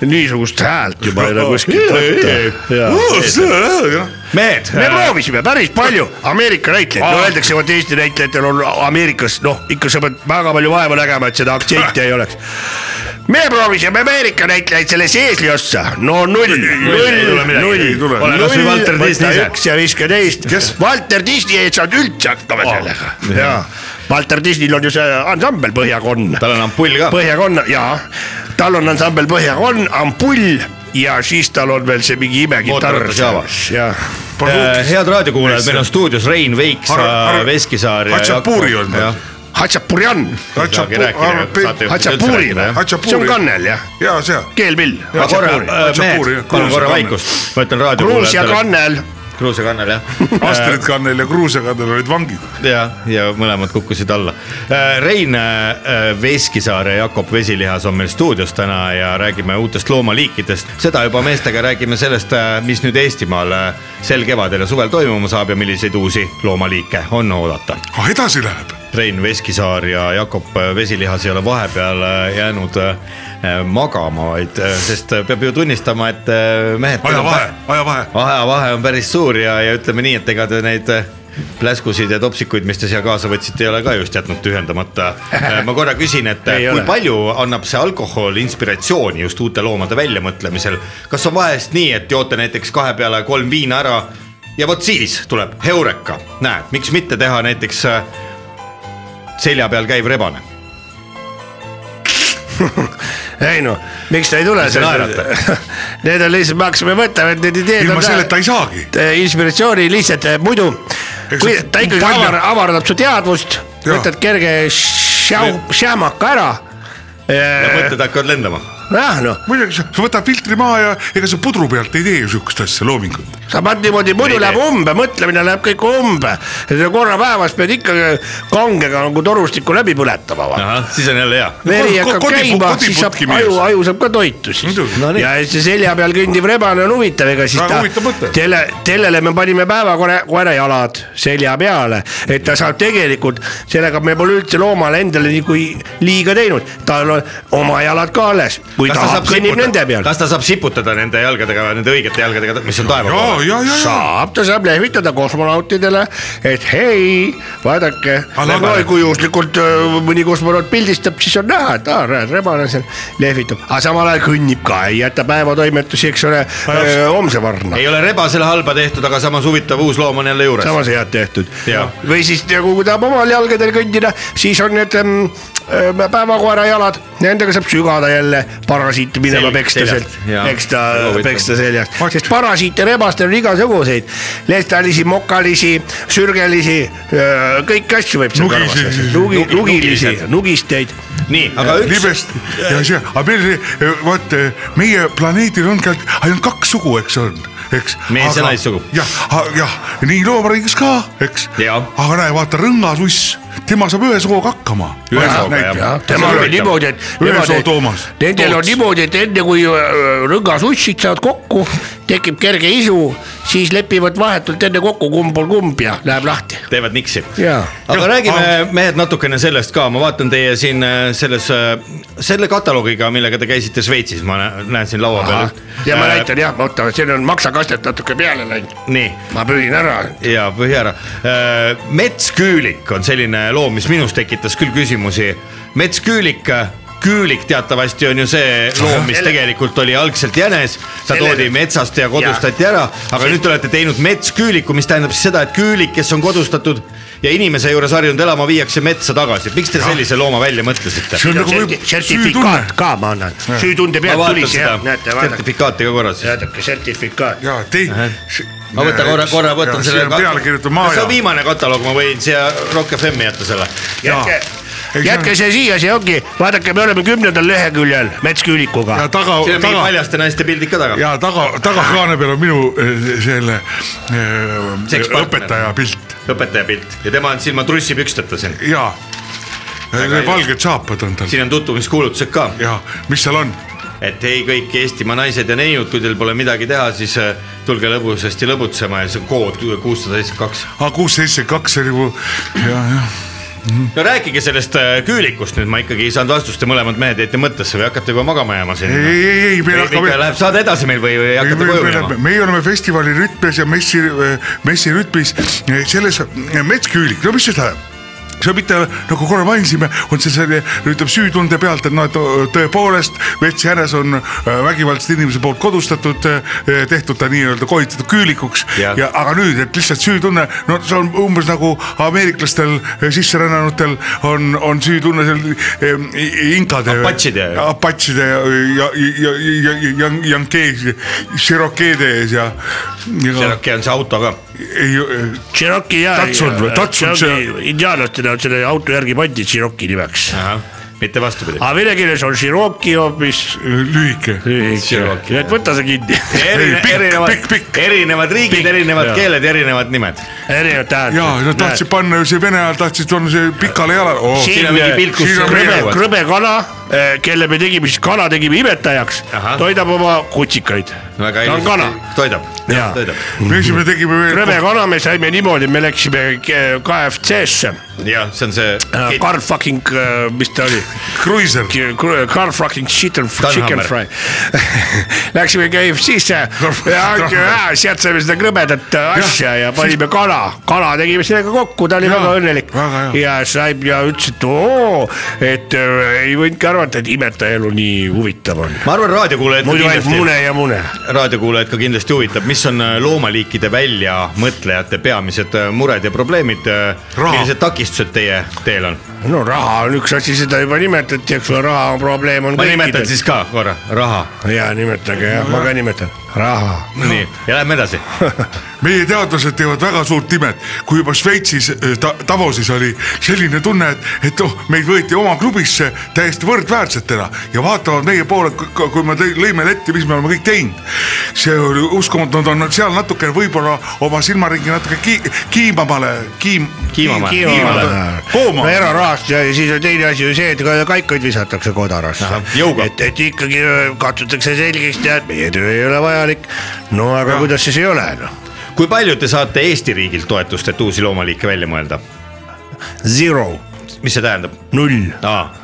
E: niisugust häält juba ei ole kuskilt võtta .
A: mehed ,
E: me proovisime päris palju Ameerika näitlejaid , no öeldakse , vot Eesti näitlejatel on Ameerikas noh , ikka sa pead väga palju vaeva nägema , et seda aktsenti ei oleks . me proovisime Ameerika näitlejaid sellesse eesliossa , no null ,
A: ei
E: null
A: tule , midagi. Ei
E: null
A: tule. , Ole kas või Walter Disney ise.
E: üks ja viiskümmend teist , Walter Disney ei saanud üldse hakkama sellega ja Walter Disneyl on ju see ansambel Põhjakonn .
A: tal on ampull ka . Äh,
E: Põhjakonna ja tal on ansambel Põhjakonn , ampull ja siis tal on veel see mingi imekitarr
A: Mootorratas Java. .
E: jah ,
A: Äh, head raadiokuulajad , meil on stuudios Rein
B: Har-
A: Veiksa
B: Har- ,
A: Veskisaar ja .
B: Hatsapuri on tal. .
E: Hatsapurjan , Hatsapuri või ?
B: Hatsapuri.
E: noh. see on kannel jah ,
B: ja see ,
E: keelpill .
B: Jaa, see on. Hatsapuri,
A: äh, mehed palun
B: jah. ,
A: korra
B: Gruusia kannel.
A: vaikust , ma ütlen
E: Gruusia
A: raadiokuulajatele .
E: kannel ,
A: Gruusia kannel jah .
B: Astrid Kannel ja Kruuse Kannel olid vangid .
A: ja , ja mõlemad kukkusid alla . Rein äh, Veskisaar ja Jakob Vesilihas on meil stuudios täna ja räägime uutest loomaliikidest . seda juba meestega räägime sellest , mis nüüd Eestimaal äh, sel kevadel ja suvel toimuma saab ja milliseid uusi loomaliike on oodata .
B: ah edasi läheb .
A: Rein Veskisaar ja Jakob äh, Vesilihas ei ole vahepeal äh, jäänud äh, magama , vaid äh, sest äh, peab ju tunnistama , et äh, mehed .
B: ajavahe , ajavahe .
A: ajavahe on päris suur ja , ja ütleme nii , et ega te neid äh, pläskusid ja topsikuid , mis te siia kaasa võtsite , ei ole ka just jätnud tühjendamata . ma korra küsin , et äh,
E: Ei
A: kui
E: ole.
A: ole. palju annab see alkohol inspiratsiooni just uute loomade väljamõtlemisel ? kas on vahest nii , et joote näiteks kahe peale kolm viina ära ja vot siis tuleb heureka , näed , miks mitte teha näiteks äh, selja peal käiv rebane ,
E: ei no miks ta ei tule .
A: te naerate?
E: Need on lihtsalt , me hakkasime mõtlema , et need ideed
B: ilma selleta
E: on eh,
B: ei saagi .
E: inspiratsiooni lihtsalt eh, muidu , kui
B: see-
E: ta ikkagi
B: palju-
E: avar, avardab su teadvust ,
B: Jaa.
E: võtad kerge šau- šämmaka ära .
A: mõtted hakkavad lendama .
E: jah noh
B: muidugi , sa sa võtad filtri maha ja ega sa pudru pealt ei tee ju sihukest asja , loomingut .
E: sa paned niimoodi , muidu
A: Ei
E: läheb
A: tee.
E: umbe , mõtlemine läheb kõik umbe . korra päevas pead ikka kangega nagu torustikku läbi põletama .
A: ahah , siis on jälle hea .
E: veri
B: Ko- ko-
E: hakkab
B: kodipu-
E: käima , siis saab
B: kodiputki
E: aju ,
B: mees.
E: aju saab ka toitu siis
B: Muidugi.
E: no, . ja see selja peal kõndiv rebane on huvitav , ega siis
B: Väga
E: ta
B: huvitav mõte. ,
E: tele , tellele me panime päevakorra , koera jalad selja peale , et ta saab tegelikult , sellega me pole üldse loomale endale nagu liiga teinud , tal on oma jalad ka alles , kui
A: kas ta
E: tahab ,
A: saab
E: kõnnib nende
A: siputada ,
E: peal .
A: kas ta saab siputada nende jalgadega , nende õigete jalgadega , mis on taeva
B: ja ,
A: poole ?
B: ja , ja , ja .
E: saab , ta saab lehvitada kosmonautidele , et hei , vaadake , kui juhuslikult öö, mõni kosmonaut pildistab , siis on näha , et aa , näed , rebane seal lehvitab , aga samal ajal kõnnib ka , ei jäta päevatoimetusi , eks ole , homse varna
A: ei ole rebasele halba tehtud , aga samas huvitav uus loom on jälle juures .
E: samas head tehtud
A: Jaa. .
E: või siis nagu kui tahab omal jalgadel kõndida , siis on need ähm, äh, päevakoera jalad , nendega saab sügada jälle parasiit minema
A: Sel-
E: peksta
A: seljast,
E: sealt ,
A: jaa.
E: peksta
A: Väga , huvitav.
E: peksta seljast , sest parasiite rebastel on igasuguseid . lestalisi , mokalisi , sürgelisi , kõiki asju võib seal
B: Nugisi-
E: karvas lasta , nugi ,
A: nugi-
E: nugilisi
A: nugilised. ,
E: nugisteid .
A: nii , aga üks ,
B: libest ja see , aga meil see , vot eh, meie planeedil on ka ainult kaks sugu , eks on , eks .
A: Mees ja naissugu.
B: jah , jah , nii loomariigis ka , eks .
A: Jaa.
B: aga näe , vaata rõngasuss , tema saab ühe sooga hakkama .
A: Ühe sooga, jah. Jah,
E: temal on niimoodi , et
B: Ühe
E: nemad-
B: soo Toomas.
E: nendel on
B: Toots.
E: niimoodi , et enne kui äh, rõngasussid saavad kokku , tekib kerge isu , siis lepivad vahetult enne kokku , kumb on kumb ja läheb lahti .
A: teevad niksi .
E: ja ,
A: aga
B: Jah,
A: räägime , mehed , natukene sellest ka , ma vaatan teie siin äh, selles , selle kataloogiga , millega te käisite Šveitsis , ma nä- näen siin laua peal . Äh,
E: ja
B: Äh.
E: ma näitan jah , oota , siin on maksakastet natuke peale läinud ,
A: nii
E: ma püüan ära .
A: ja põhi ära . metsküülik on selline loom , mis minus tekitas küll küsimusi . metsküülik , küülik teatavasti on ju see loom , mis
E: Selle-
A: tegelikult oli algselt jänes , ta
E: Sellele-
A: toodi metsast ja kodustati ära , aga nüüd te olete teinud metsküüliku , mis tähendab siis seda , et küülik , kes on kodustatud ja inimese juures harjunud elama , viiakse metsa tagasi . miks te sellise looma välja mõtlesite ?
B: see on nagu võib- süütunne
E: sertifikaat . ka ma annan , süütunde
A: ma
E: pealt tuli
A: vaatan
E: see
A: seda
E: jah , näete , vaadake ,
A: sertifikaati ka korra siis .
E: vaadake sertifikaat .
B: ja tei- .
A: ma võtan korra , korra võtan selle .
B: peale kirjutatud
A: see
B: maaja
A: on . viimane kataloog , ma võin siia Rock FM-i jätta selle .
E: jätke
B: Ei, , see
E: jätke
B: on-
E: see siia , see ongi , vaadake , me oleme kümnendal leheküljel metsküülikuga
B: ja taga ,
A: siin on mingi
B: taga
A: paljaste naiste pildid ka taga .
B: ja taga , tagakaane peal on minu eh, selle eh,
A: Sekspartner.
B: õpetaja pilt
A: õpetaja pilt ja tema on silma trussipüksteta siin ,
B: ja
A: Väga ilus.
B: valged saapad on tal
A: siin on tutvumiskuulutused ka ,
B: ja mis seal on
A: et hei kõik Eestimaa naised ja neiud , kui teil pole midagi teha , siis äh, tulge lõbusasti lõbutsema ja see on kood kuussada seitsekümmend kaks .
B: aga Ah, kuus , seitse , kaks oli mu ja , ja
A: no rääkige sellest äh, küülikust nüüd , ma ikkagi ei saanud vastust ja mõlemad mehed jäite mõttesse või hakkate juba magama jääma siin ?
B: ei , ei , ei , ei , meil hakkab .
A: Läheb saade edasi meil või , või hakkate koju minema ?
B: meie oleme festivali rütmes ja messi , messi rütmis , selles eh, metsküülik , no mis see tähendab ? see on mitte nagu korra mainisime , on see selline , ütleme süütunde pealt , et noh , et tõepoolest mets jänes on äh, vägivaldselt inimese poolt kodustatud , tehtud ta nii-öelda kohitatud küülikuks
A: Jah.
B: ja, ja aga nüüd , et lihtsalt süütunne , no see on umbes nagu ameeriklastel , sisserännanutel on , on süütunne seal em, inkade .
A: Apatšide.
B: Apatside ja , ja , ja , ja , ja , ja , ja , Cherokeede ees ja , ja
A: Cherokee on see auto ka ,
B: ei ,
E: Cherokee ja .
B: Datsun või? Datsun
E: see . indiaanlaste näol selle auto järgi pandi Cherokee nimeks .
A: mitte
B: Ah.
A: vastupidi .
E: aga vene keeles on Cherokee hoopis .
B: lühike .
A: Cherokee.
E: nii et võta see kinni .
A: Erine,
B: pikk,
A: erinevad
B: pikk, , pikk.
A: erinevad riigid , erinevad
E: jaa.
A: keeled , erinevad nimed .
E: erinevad tähendused .
B: ja nad tahtsid . panna ju see vene ajal tahtsid , on see pikale jalale oh, .
A: siin on mingi pilkus
B: siin on
E: krõbe
B: Erinevad. ,
E: krõbe kana , kelle me tegime siis , kana tegime imetajaks
A: Ahah. ,
E: toidab oma kutsikaid .
A: väga
E: ta on kana
A: ilusti toidab ,
E: Jaa.
A: toidab
B: me esimene tegime
E: krõbe
B: veel ,
E: kana me saime niimoodi , me läksime K- KFC-sse ,
A: jah , see on see .
E: Carl fucking , mis ta oli ,
B: kruiiser ,
E: Carl uh, fucking chicken , chicken
A: Dunhammer.
E: fry . Läksime KFC-sse ja sealt saime seda krõbedat äh, asja ja panime kana , kana tegime sellega kokku , ta oli
B: Jaa,
E: väga õnnelik
B: väga hea. .
E: ja saib ja ütles , et oo , et äh, ei võinudki arvata , et imetaja elu nii huvitav on .
A: ma arvan , raadiokuulajad ka
E: muidu ainult
A: kindlasti ,
E: mune ja mune .
A: raadiokuulajad ka kindlasti huvitab , mis on äh, loomaliikide väljamõtlejate peamised äh, mured ja probleemid . millised takistused äh, teie teel on ?
E: no raha on üks asi , seda juba nimetati , eks ole , raha on probleem on .
A: ma nimetan siis ka korra raha ,
E: ja nimetage jah , ma ka nimetan , raha .
A: nii ja lähme edasi .
B: meie teadlased teevad väga suurt imet , kui juba Šveitsis äh, ta, Davosis oli selline tunne , et , et oh , meid võeti oma klubisse täiesti võrdväärsetena ja vaatavad meie poole , kui me tõi- lõime letti , mis me oleme kõik teinud . see oli uskumatu , nad on seal natukene võib-olla oma silmaringi natuke ki, kiimamale , kiim ,
A: Kiimamäe.
B: Kiimamäe.
E: no erarahast ja siis on teine asi ju see , et ka kaikaid visatakse kodarasse
A: Ahah, . jõuga.
E: et , et ikkagi öö, katsutakse selgeks teha , et meie töö ei ole vajalik . no aga ja. kuidas siis ei ole noh ,
A: kui palju te saate Eesti riigilt toetust , et uusi loomaliike välja mõelda ?
E: zero ,
A: mis see tähendab ?
E: null .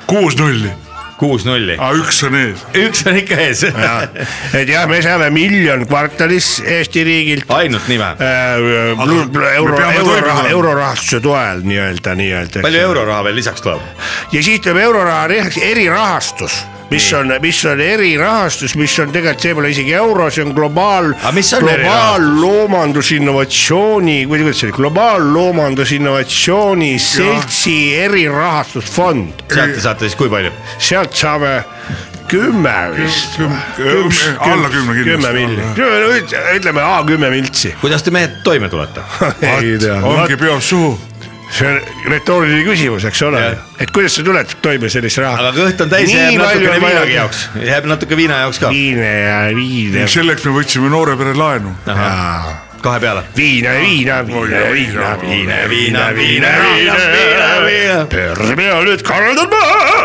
B: kuus nulli ,
A: kuus nulli ,
B: Ah, üks on ees .
A: üks on ikka ees .
E: et jah , me saame miljon kvartalis Eesti riigilt .
A: ainult nime ,
E: euro ,
B: peame
E: euroraha ,
B: toimetama.
E: eurorahastuse toel nii-öelda , nii-öelda .
A: palju euroraha veel lisaks tuleb ?
E: ja siis tuleb euroraha rehaks- erirahastus , mis on , mis on erirahastus , mis on tegelikult , see pole isegi euro , see on globaal
A: Aga mis on .
E: globaalloomandus-innovatsiooni , või kuidas see oli , globaalloomandus-innovatsiooni seltsi erirahastusfond ,
A: sealt te saate siis kui palju ?
E: sealt saame kümme vist .
B: alla kümne
E: kümme
B: kindlasti .
E: miljonit , ütleme A kümme miltsi .
A: kuidas te mehed toime tulete ?
E: ei tea
B: ongi peost suhu ,
E: see on retooriline küsimus , eks ole , et kuidas sa tuled toime sellise rahaga
A: aga . kõht on täis ja jääb
E: Nii
A: natukene
E: palju on vaja-
A: viinagi jaoks , jääb natuke viina jaoks ka
E: viine ja viine ,
B: selleks me võtsime noore pere laenu .
A: kahe peale .
E: viina ja viina , viina ja viina , viina ja viina , viina ja viina , viina ja viina .
A: viina .
E: perre pea nüüd korraldan ma ,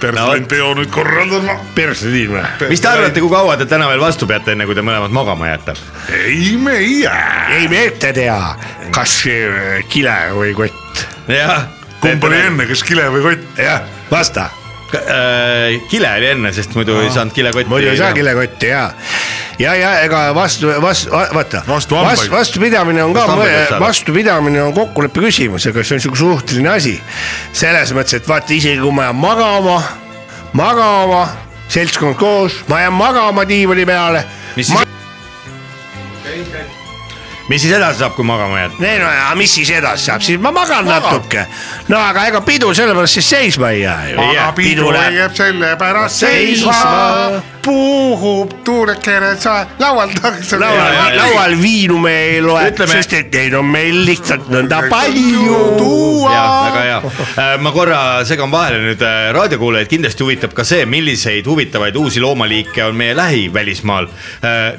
B: personali peo nüüd korraldama .
E: perse tiim või ?
A: mis te arvate , kui kaua te täna veel vastu peate , enne kui te mõlemad magama jääte ?
B: ei , me ei jää .
E: ei me ette tea , kas äh, kile või kott .
A: jah .
B: kumb oli ? enne , kas kile või kott ?
E: jah , vasta ,
A: äh, kile oli enne , sest muidu ei saanud kilekotti .
E: muidu ei saa . kilekotti ja , ja , ja ega vastu , vastu , vaata .
B: Vastu hambaid.
E: vastupidamine on ka
A: Vastu hambaid võib , saada.
E: vastupidamine on kokkuleppe küsimus , ega see on sihuke suhteline asi . selles mõttes , et vaata isegi kui ma jään magama , magama , seltskond koos , ma jään magama diivani peale .
A: mis siis ? mis siis edasi saab , kui magama jääd ?
E: ei no ja mis siis edasi saab , siis ma magan Maga. natuke . no aga ega pidu sellepärast siis seisma ei jää ju .
A: jää.
E: pidu läheb
B: sellepärast
E: seisma .
B: puhub tuulekene sa laual tagasi .
E: laual
A: Jaa, , jaa.
E: laual viinu me ei loe ,
A: Ütleme-
E: sest et neid on meil lihtsalt nõnda palju
A: jaa , väga
E: tuua .
A: hea . ma korra segan vahele nüüd , raadiokuulajaid kindlasti huvitab ka see , milliseid huvitavaid uusi loomaliike on meie lähivälismaal .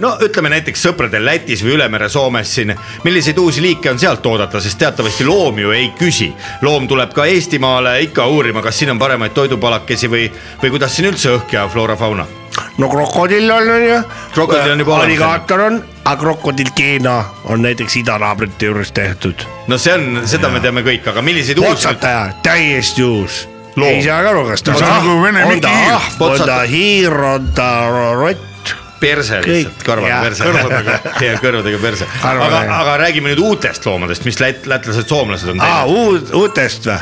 A: no ütleme näiteks sõpradel Lätis või üle mere Soomes siin , milliseid uusi liike on sealt oodata , sest teatavasti loom ju ei küsi . loom tuleb ka Eestimaale ikka uurima , kas siin on paremaid toidupalakesi või , või kuidas siin üldse õhk ja floora , fauna .
E: no krokodill on , on ju .
A: Krokodill on juba olemas.
E: alligaator on , aga krokodill Keena on näiteks idanaabrite juures tehtud .
A: no see on , seda me teame kõik , aga milliseid uusi ,
E: otsataja , täiesti uus .
A: Loom.
E: ei saa ka aru , kas ta
B: See on nagu vene
E: on ta
B: mikihiir.
E: ahv , on ta hiir , on ta rott .
A: perse lihtsalt ,
E: Kõik,
A: karvad
E: jaa,
A: perse .
E: kõrvadega.
A: ja kõrvadega perse ,
E: Karvadega.
A: aga , aga räägime nüüd uutest loomadest , mis lät- , lätlased , soomlased on
E: aa ,
A: teinud .
E: uut , uutest või ?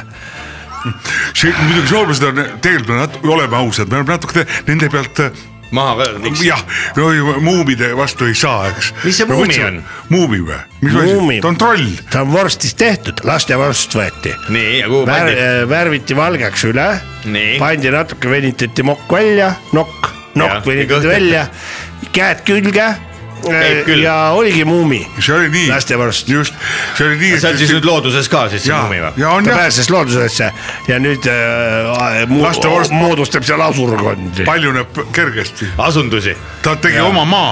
B: see muidugi soomlased on , tegelikult me natu- oleme ausad , me oleme natuke nende pealt äh,
A: maha ka tiks .
B: jah , no ju muumide vastu ei saa , eks .
A: Mis see muumi on? ?
B: muumi või ? mis
E: Muumi.
B: asi , ta on troll .
E: ta on vorstist tehtud , laste vorst võeti
A: nii , ja kuhu
E: Vär,
A: pandi ?
E: äh, värviti valgeks üle ,
A: Nii.
E: pandi natuke , venitati mokk välja , nokk ,
A: Jah,
E: nokk
A: ja kõht
E: venitati välja , käed külge äh,
A: Käib küll.
E: ja oligi muumi ,
B: see oli nii ,
E: lastevorst .
B: just , see oli nii .
A: see on siis nüüd looduses ka siis see
B: ja
A: muumi , või ?
B: ja on
E: ta
B: jah ,
E: pääses loodusesse ja nüüd äh, mu,
B: Lastevorst-
E: moodustab seal asurkondi .
B: paljuneb kergesti ,
A: asundusi ,
B: ta tegi oma maa .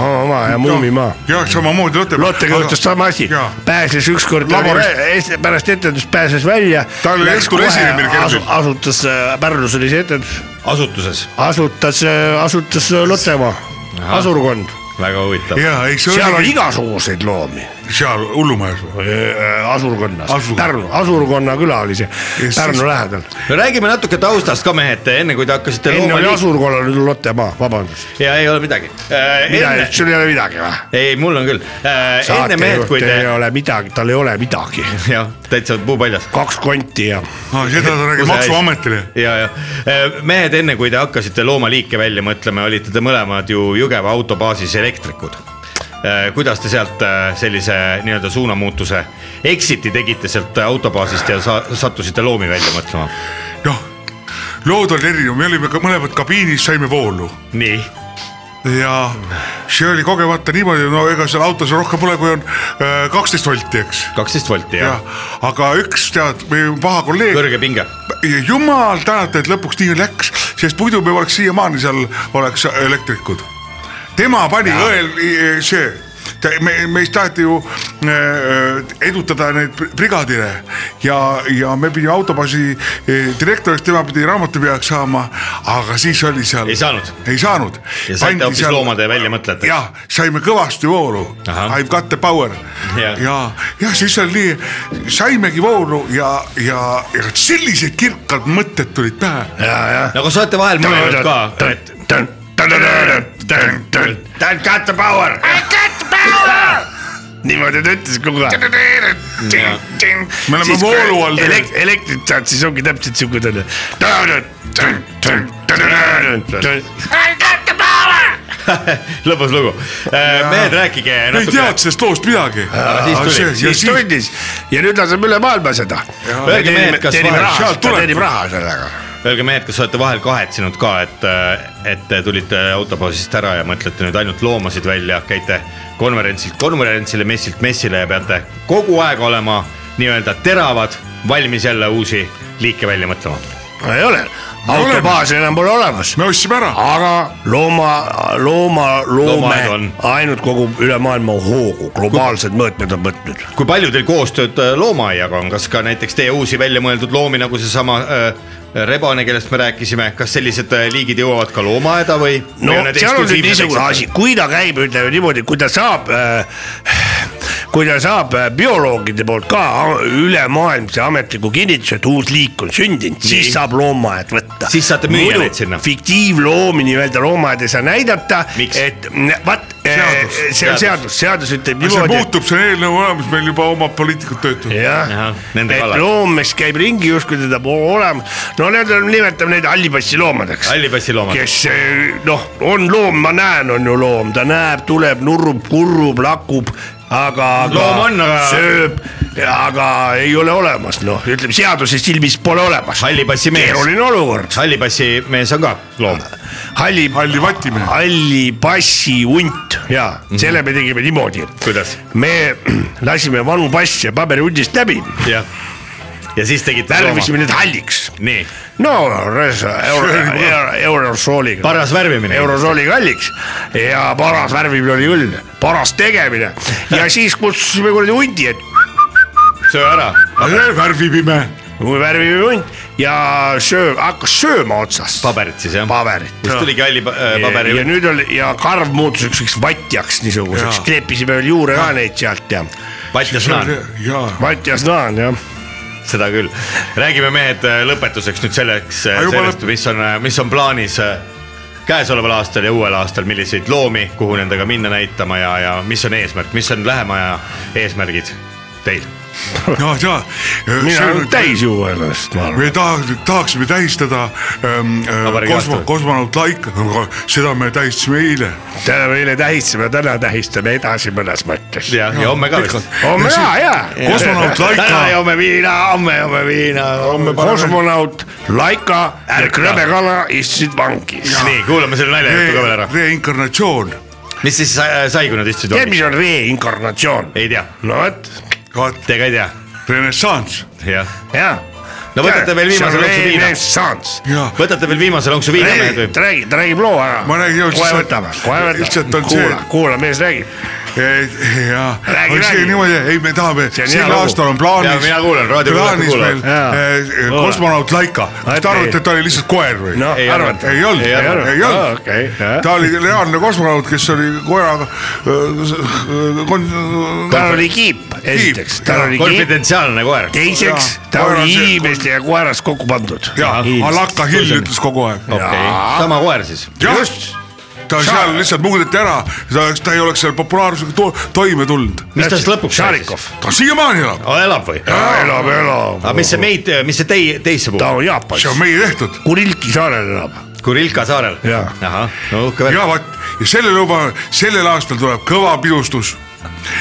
E: oma ja muumimaa .
B: jah , samamoodi Lotte .
E: Lottega juhtus sama asi
B: Jaa. ,
E: pääses ükskord
B: Laborist- ,
E: pärast etendust pääses välja .
B: Tal oli õhtul esinemine
E: asu,
B: kergelt. .
E: asutas , Pärnus oli see etendus ,
A: asutuses ,
E: asutas , asutas Lottemaa , asurkond
A: väga huvitav .
B: ja ei , see
E: seal on
B: oli
E: igasuguseid loomi .
B: seal hullumajas või ?
E: asurkonnas
B: Asurkonnas. ,
E: Pärnu , asurkonna küla oli see ,
B: siis-
E: Pärnu lähedal .
A: no räägime natuke taustast ka mehed , enne kui te hakkasite
E: enne
A: looma
E: oli
A: liik-
E: asurkonna , nüüd on Lottemaa , vabandust .
A: ja ei ole midagi . enne ,
E: sul ei ole midagi või ?
A: ei , mul on küll . enne mehed , kui
E: saatejuht ei
A: te ,
E: ole midagi , tal ei ole midagi .
A: jah , täitsa puupaljas .
E: kaks konti ja
B: seda ta räägib
A: Kus see
B: maksuametile .
A: ja , ja mehed , enne kui te hakkasite loomaliike välja mõtlema , olite te mõlemad ju Jõgeva autobaasis elektrikud . kuidas te sealt äh, sellise nii-öelda suunamuutuse exit'i tegite sealt autobaasist ja sa sattusite loomi välja mõtlema?
B: noh , lood on erinevad , me olime ka mõlemad kabiinis , saime voolu
A: nii ,
B: ja see oli kogemata niimoodi , no ega seal autos rohkem pole , kui on äh, kaksteist volti , eks .
A: kaksteist volti jah
B: jah , aga üks tead , meie paha kolleeg ,
A: kõrge pinge
B: jumal tänatud , et lõpuks nii läks , sest muidu me oleks siiamaani seal oleks elektrikud . tema pani õel i- see , me , meist taheti ju äh, edutada neid bri- brigadile ja , ja me pidime autobaasi eh, direktoriks , tema pidi raamatupidajaks saama , aga siis oli seal .
A: Ei saanud.
B: ei saanud .
A: ja saite hoopis loomade väljamõtlejateks .
B: jah , saime kõvasti voolu ,
A: Ahah.
B: I ve got the power
A: Jah.
B: ja , ja siis oli nii , saimegi voolu ja , ja , ja sellised kirkad mõtted tulid pähe .
A: no aga saate vahel mõelnud ka , et
E: That got the power . niimoodi ta ütles kogu aeg .
B: me oleme voolu all
E: elek- , elektrit saad , siis ongi täpselt siuke tunne .
A: lõbus lugu . mehed , rääkige
B: me ei
A: natuke
B: teadnud , sellest loost midagi .
A: siis tuli.
E: siis tundis ja nüüd laseme üle maailma seda .
A: Öelge mehed, kas vahel-
B: sealt tuleb-
E: teenib raha sellega .
A: öelge mehed , kas olete vahel kahetsenud ka , et , et te tulite autopausist ära ja mõtlete nüüd ainult loomasid välja , käite konverentsilt konverentsile , messilt messile ja peate kogu aeg olema nii-öelda teravad , valmis jälle uusi liike välja mõtlema .
E: ei ole , autobaasi enam pole olemas .
B: me ostsime ära .
E: aga looma , looma ,
A: Loomaaed
E: loome
A: on.
E: ainult kogub üle maailma hoogu , globaalsed mõõtmed on võtnud .
A: kui palju teil koostööd äh, loomaaiaga on , kas ka näiteks teie uusi välja mõeldud loomi , nagu seesama äh, rebane , kellest me rääkisime , kas sellised äh, liigid jõuavad ka loomaaeda või ?
E: no seal on nüüd niisugune asi , kui ta käib , ütleme niimoodi , kui ta saab äh, , kui ta saab äh, bioloogide poolt ka a- ülemaailmse ametliku kinnituse , et uus liik on sündinud , siis saab loomaaed võtta .
A: Siis saate müüa neid sinna.
E: fiktiivloomi nii-öelda loomaaed ei saa näidata ,
A: Miks?
E: et n- vaat eh,
B: Seadus.
E: see on
A: Seadus.
E: seadus , seadus ütleb
B: see
E: niimoodi .
B: muutub , see on eelnõu olemas , meil juba oma poliitikud töötavad .
E: jah
A: Ahah, , nende
E: et
A: kallal.
E: loommees käib ringi justkui teda pole olema , no need on , nimetame neid hallipassiloomadeks .
A: hallipassiloomad .
E: kes eh, noh , on loom , ma näen , on ju loom , ta näeb , tuleb , nurrub , kurrub , lakub , aga , aga
A: Loom on, aga-
E: sööb , aga ei ole olemas , noh , ütleme seaduse silmis pole olemas .
A: Halli passi mees.
E: keeruline olukord ,
A: halli passi mees on ka loom .
E: halli ,
B: halli vatimine .
E: halli passi hunt ja selle me tegime niimoodi ,
A: Mhm. kuidas ?
E: me lasime vanu passe paberihundist läbi ,
A: jah . ja siis tegite .
E: värvisime need halliks ,
A: nii ,
E: no res- euro , euro , eurosooliga .
A: paras värvimine .
E: eurosooli kalliks ja paras värvimine oli õln , paras tegemine ja siis kutsusime kuradi hundi , et
A: söö ära .
B: värvipime .
E: värvime hunt ja söö , hakkas sööma otsast
A: paberit siis jah .
E: paberit .
A: siis tuligi halli pa- äh, paberi
E: ja . nüüd oli ja karv muutus ükskõik vatjaks niisuguseks ,
B: Jaa.
E: kleepisime veel juure ka neid sealt ja
A: Patjas naan ,
B: jaa .
E: vatjas naan jah .
A: seda küll . räägime mehed äh, lõpetuseks nüüd selleks ,
B: Aga juba
A: sellest ,
B: lõpp-
A: mis on , mis on plaanis äh, käesoleval aastal ja uuel aastal , milliseid loomi , kuhu nendega minna näitama ja , ja mis on eesmärk , mis on lähema aja eesmärgid teil ?
B: jaa , jaa .
E: mina olen täis juua ennast , ma arvan .
B: me taha- tahaksime tähistada ähm,
A: Vabariigi
B: äh, kosmo-
A: aastapäeva.
B: kosmonaut Laika , seda me tähistasime eile .
E: täna me eile tähistasime , täna tähistame edasi mõnes mõttes .
A: ja , ja homme ka vist .
E: homme
B: Ja
E: ka
B: siis-
E: ja .
B: Oh, kosmonaut
A: täna
B: Laika ,
A: joome viina , homme joome viina .
E: kosmonaut Laika ja Krõbekala istusid vangis .
A: nii , kuulame selle naljajutu ka veel ära .
B: reinkarnatsioon ,
A: mis siis sai- sai , kui nad istusid
E: tead , mis
A: vangis ?
E: on reinkarnatsioon ?
A: ei tea ,
E: no vot ,
B: vaat
A: te ka ei tea ,
B: renessanss
A: jah .
E: jaa .
A: No võtate veel viimase lonksu viina.
E: renessanss .
B: ja
A: võtate veel viimase lonksu viina , mehed või ?
E: ta räägib , ta räägib loo ära .
B: Ma räägin just-
E: kohe võtame , kohe
B: lihtsalt
E: võtame
B: on .
E: kuula
B: see- ,
E: kuula , mees räägib .
B: Eh, ja on
E: Räägi,
B: see
E: räägi.
B: niimoodi , ei me tahame ,
E: on hea
B: sel
E: lugu.
B: aastal on
A: Jaa,
B: plaanis
A: mina kuulan, raadiokuulajad
B: plaanis
A: kuulavad.
B: meil
E: Jaa.
B: eh,
E: Kuulan.
B: kosmonaut Laika , kas te
E: Vaat
B: arvate ,
E: ei.
B: et ta oli lihtsalt koer või ?
E: noh ,
A: Ei
E: arvad ?
B: ei olnud , ei
E: arva.
B: olnud, ei
E: Aa,
B: olnud
E: okei, jah. .
B: ta oli reaalne kosmonaut , kes oli eh, koeraga .
E: tal oli kiip , esiteks , tal oli kiip ,
A: konfidentsiaalne koer .
E: teiseks
B: Jaa,
E: ta
B: koer on
E: oli
B: see-
E: inimeste ja koerast kokku pandud .
B: jaa , Alaka Hill ütles kogu aeg .
A: okei , sama koer siis .
B: jah , ta seal lihtsalt muudeti ära , ta , ta ei oleks seal populaarsusega to toime tulnud .
A: mis tast lõpuks sai siis ?
E: Šarikov ,
B: ta siiamaani elab ,
A: elab või ?
E: elab , elab .
A: aga mis see meid , mis see tei- , teisse
E: ta
A: puutub ?
E: on
B: see on
E: Jaapanis ,
B: meie tehtud .
E: Kurilki saarel elab
A: Kurilka saarel
C: Jaa. .
A: ahah , no uhke värk .
B: ja vot , ja sellel juba , sellel aastal tuleb kõva pidustus .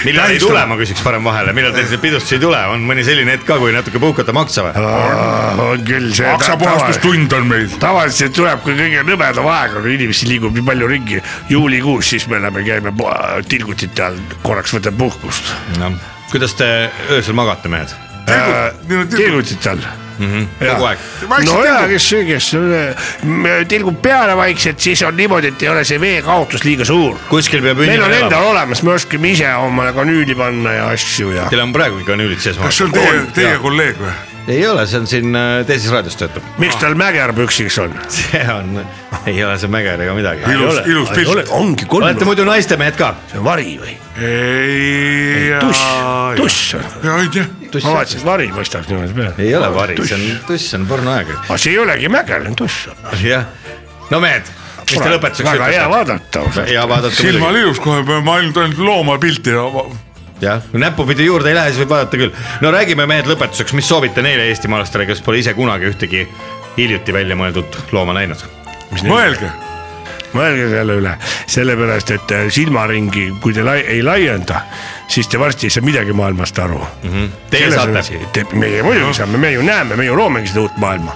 A: millal ei
B: tähistame.
A: tule , ma küsiks parem vahele , millal teil seda pidustust ei tule , on mõni selline hetk ka , kui natuke puhkate maksa või ?
C: Ah, on küll see .
B: aksapuhastustund on meil .
C: tavaliselt tuleb , kui kõige nõmedam aeg on , inimesi liigub nii palju ringi , juulikuus , siis me läheme , käime po- tilgutite all , korraks võtame puhkust .
A: noh , kuidas te öösel magate , mehed ?
C: tilgutite all .
A: kogu aeg .
B: Vaikselt
C: no jaa ,
B: tilgub.
C: kes , kes äh, tilgub peale vaikselt , siis on niimoodi , et ei ole see veekaotus liiga suur .
A: kuskil peab
C: meil on
A: inimene elama .
C: endal olemas , me oskame ise omale kanüüli panna ja asju ja .
A: Teil on praegugi kanüülid sees
B: kas see on teie , teie kolleeg või ?
A: ei ole , see on siin äh, teises raadios töötab .
C: miks tal mäger püksiks on ?
A: see on , ei ole see mäger ega midagi .
B: ilus , ilus pilt .
C: ongi kolm
A: olete , muidu naistemehed ka ?
C: see on vari või ?
B: ei .
C: tuss , tuss on .
B: ja aitäh .
C: ma vaatasin , et vari paistab niimoodi peale .
A: ei ole vari , see on , tuss on pornoaeg .
C: aga see ei olegi mäger , see on tuss .
A: jah , no mehed , mis te lõpetuseks
C: väga hea
A: ütlete ?
C: vaadata .
A: hea vaadata muidugi ,
B: silmal ilus kohe , ma ainult ainult loomapilti .
A: jah , näppupidi juurde ei lähe , siis võib vaadata küll . no räägime mehed lõpetuseks , mis soovite neile eestimaalastele , kes pole ise kunagi ühtegi hiljuti välja mõeldud looma näinud ?
B: mõelge ,
E: mõelge selle üle , sellepärast et äh, silmaringi , kui te lai, ei laienda , siis te varsti ei saa midagi maailmast aru mm . -hmm.
A: Mhm. Teie saate ,
E: Te, meie muidugi saame , me ju näeme , me ju loomegi seda uut maailma .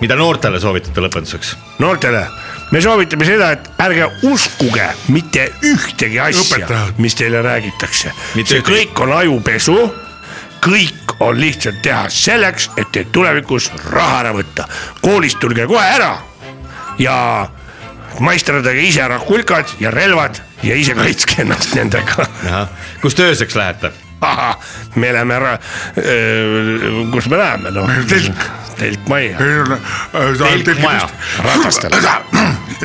A: mida noortele soovitate lõpetuseks ?
E: noortele , me soovitame seda , et ärge uskuge mitte ühtegi asja
B: Õpetajad. ,
E: mis teile räägitakse .
A: Mitte
E: see
A: ühtegi.
E: kõik on ajupesu , kõik on lihtsalt teha selleks , et teil tulevikus raha ära võtta . koolist tulge kohe ära ja maisterdage ise ära kulkad ja relvad ja ise kaitske ennast nendega .
A: kus te ööseks lähete ?
E: me läheme ära , kus me läheme noh ?
B: telk.
E: telkmajja ,
B: ei ole .
A: telkmaja ,
E: ratastel ,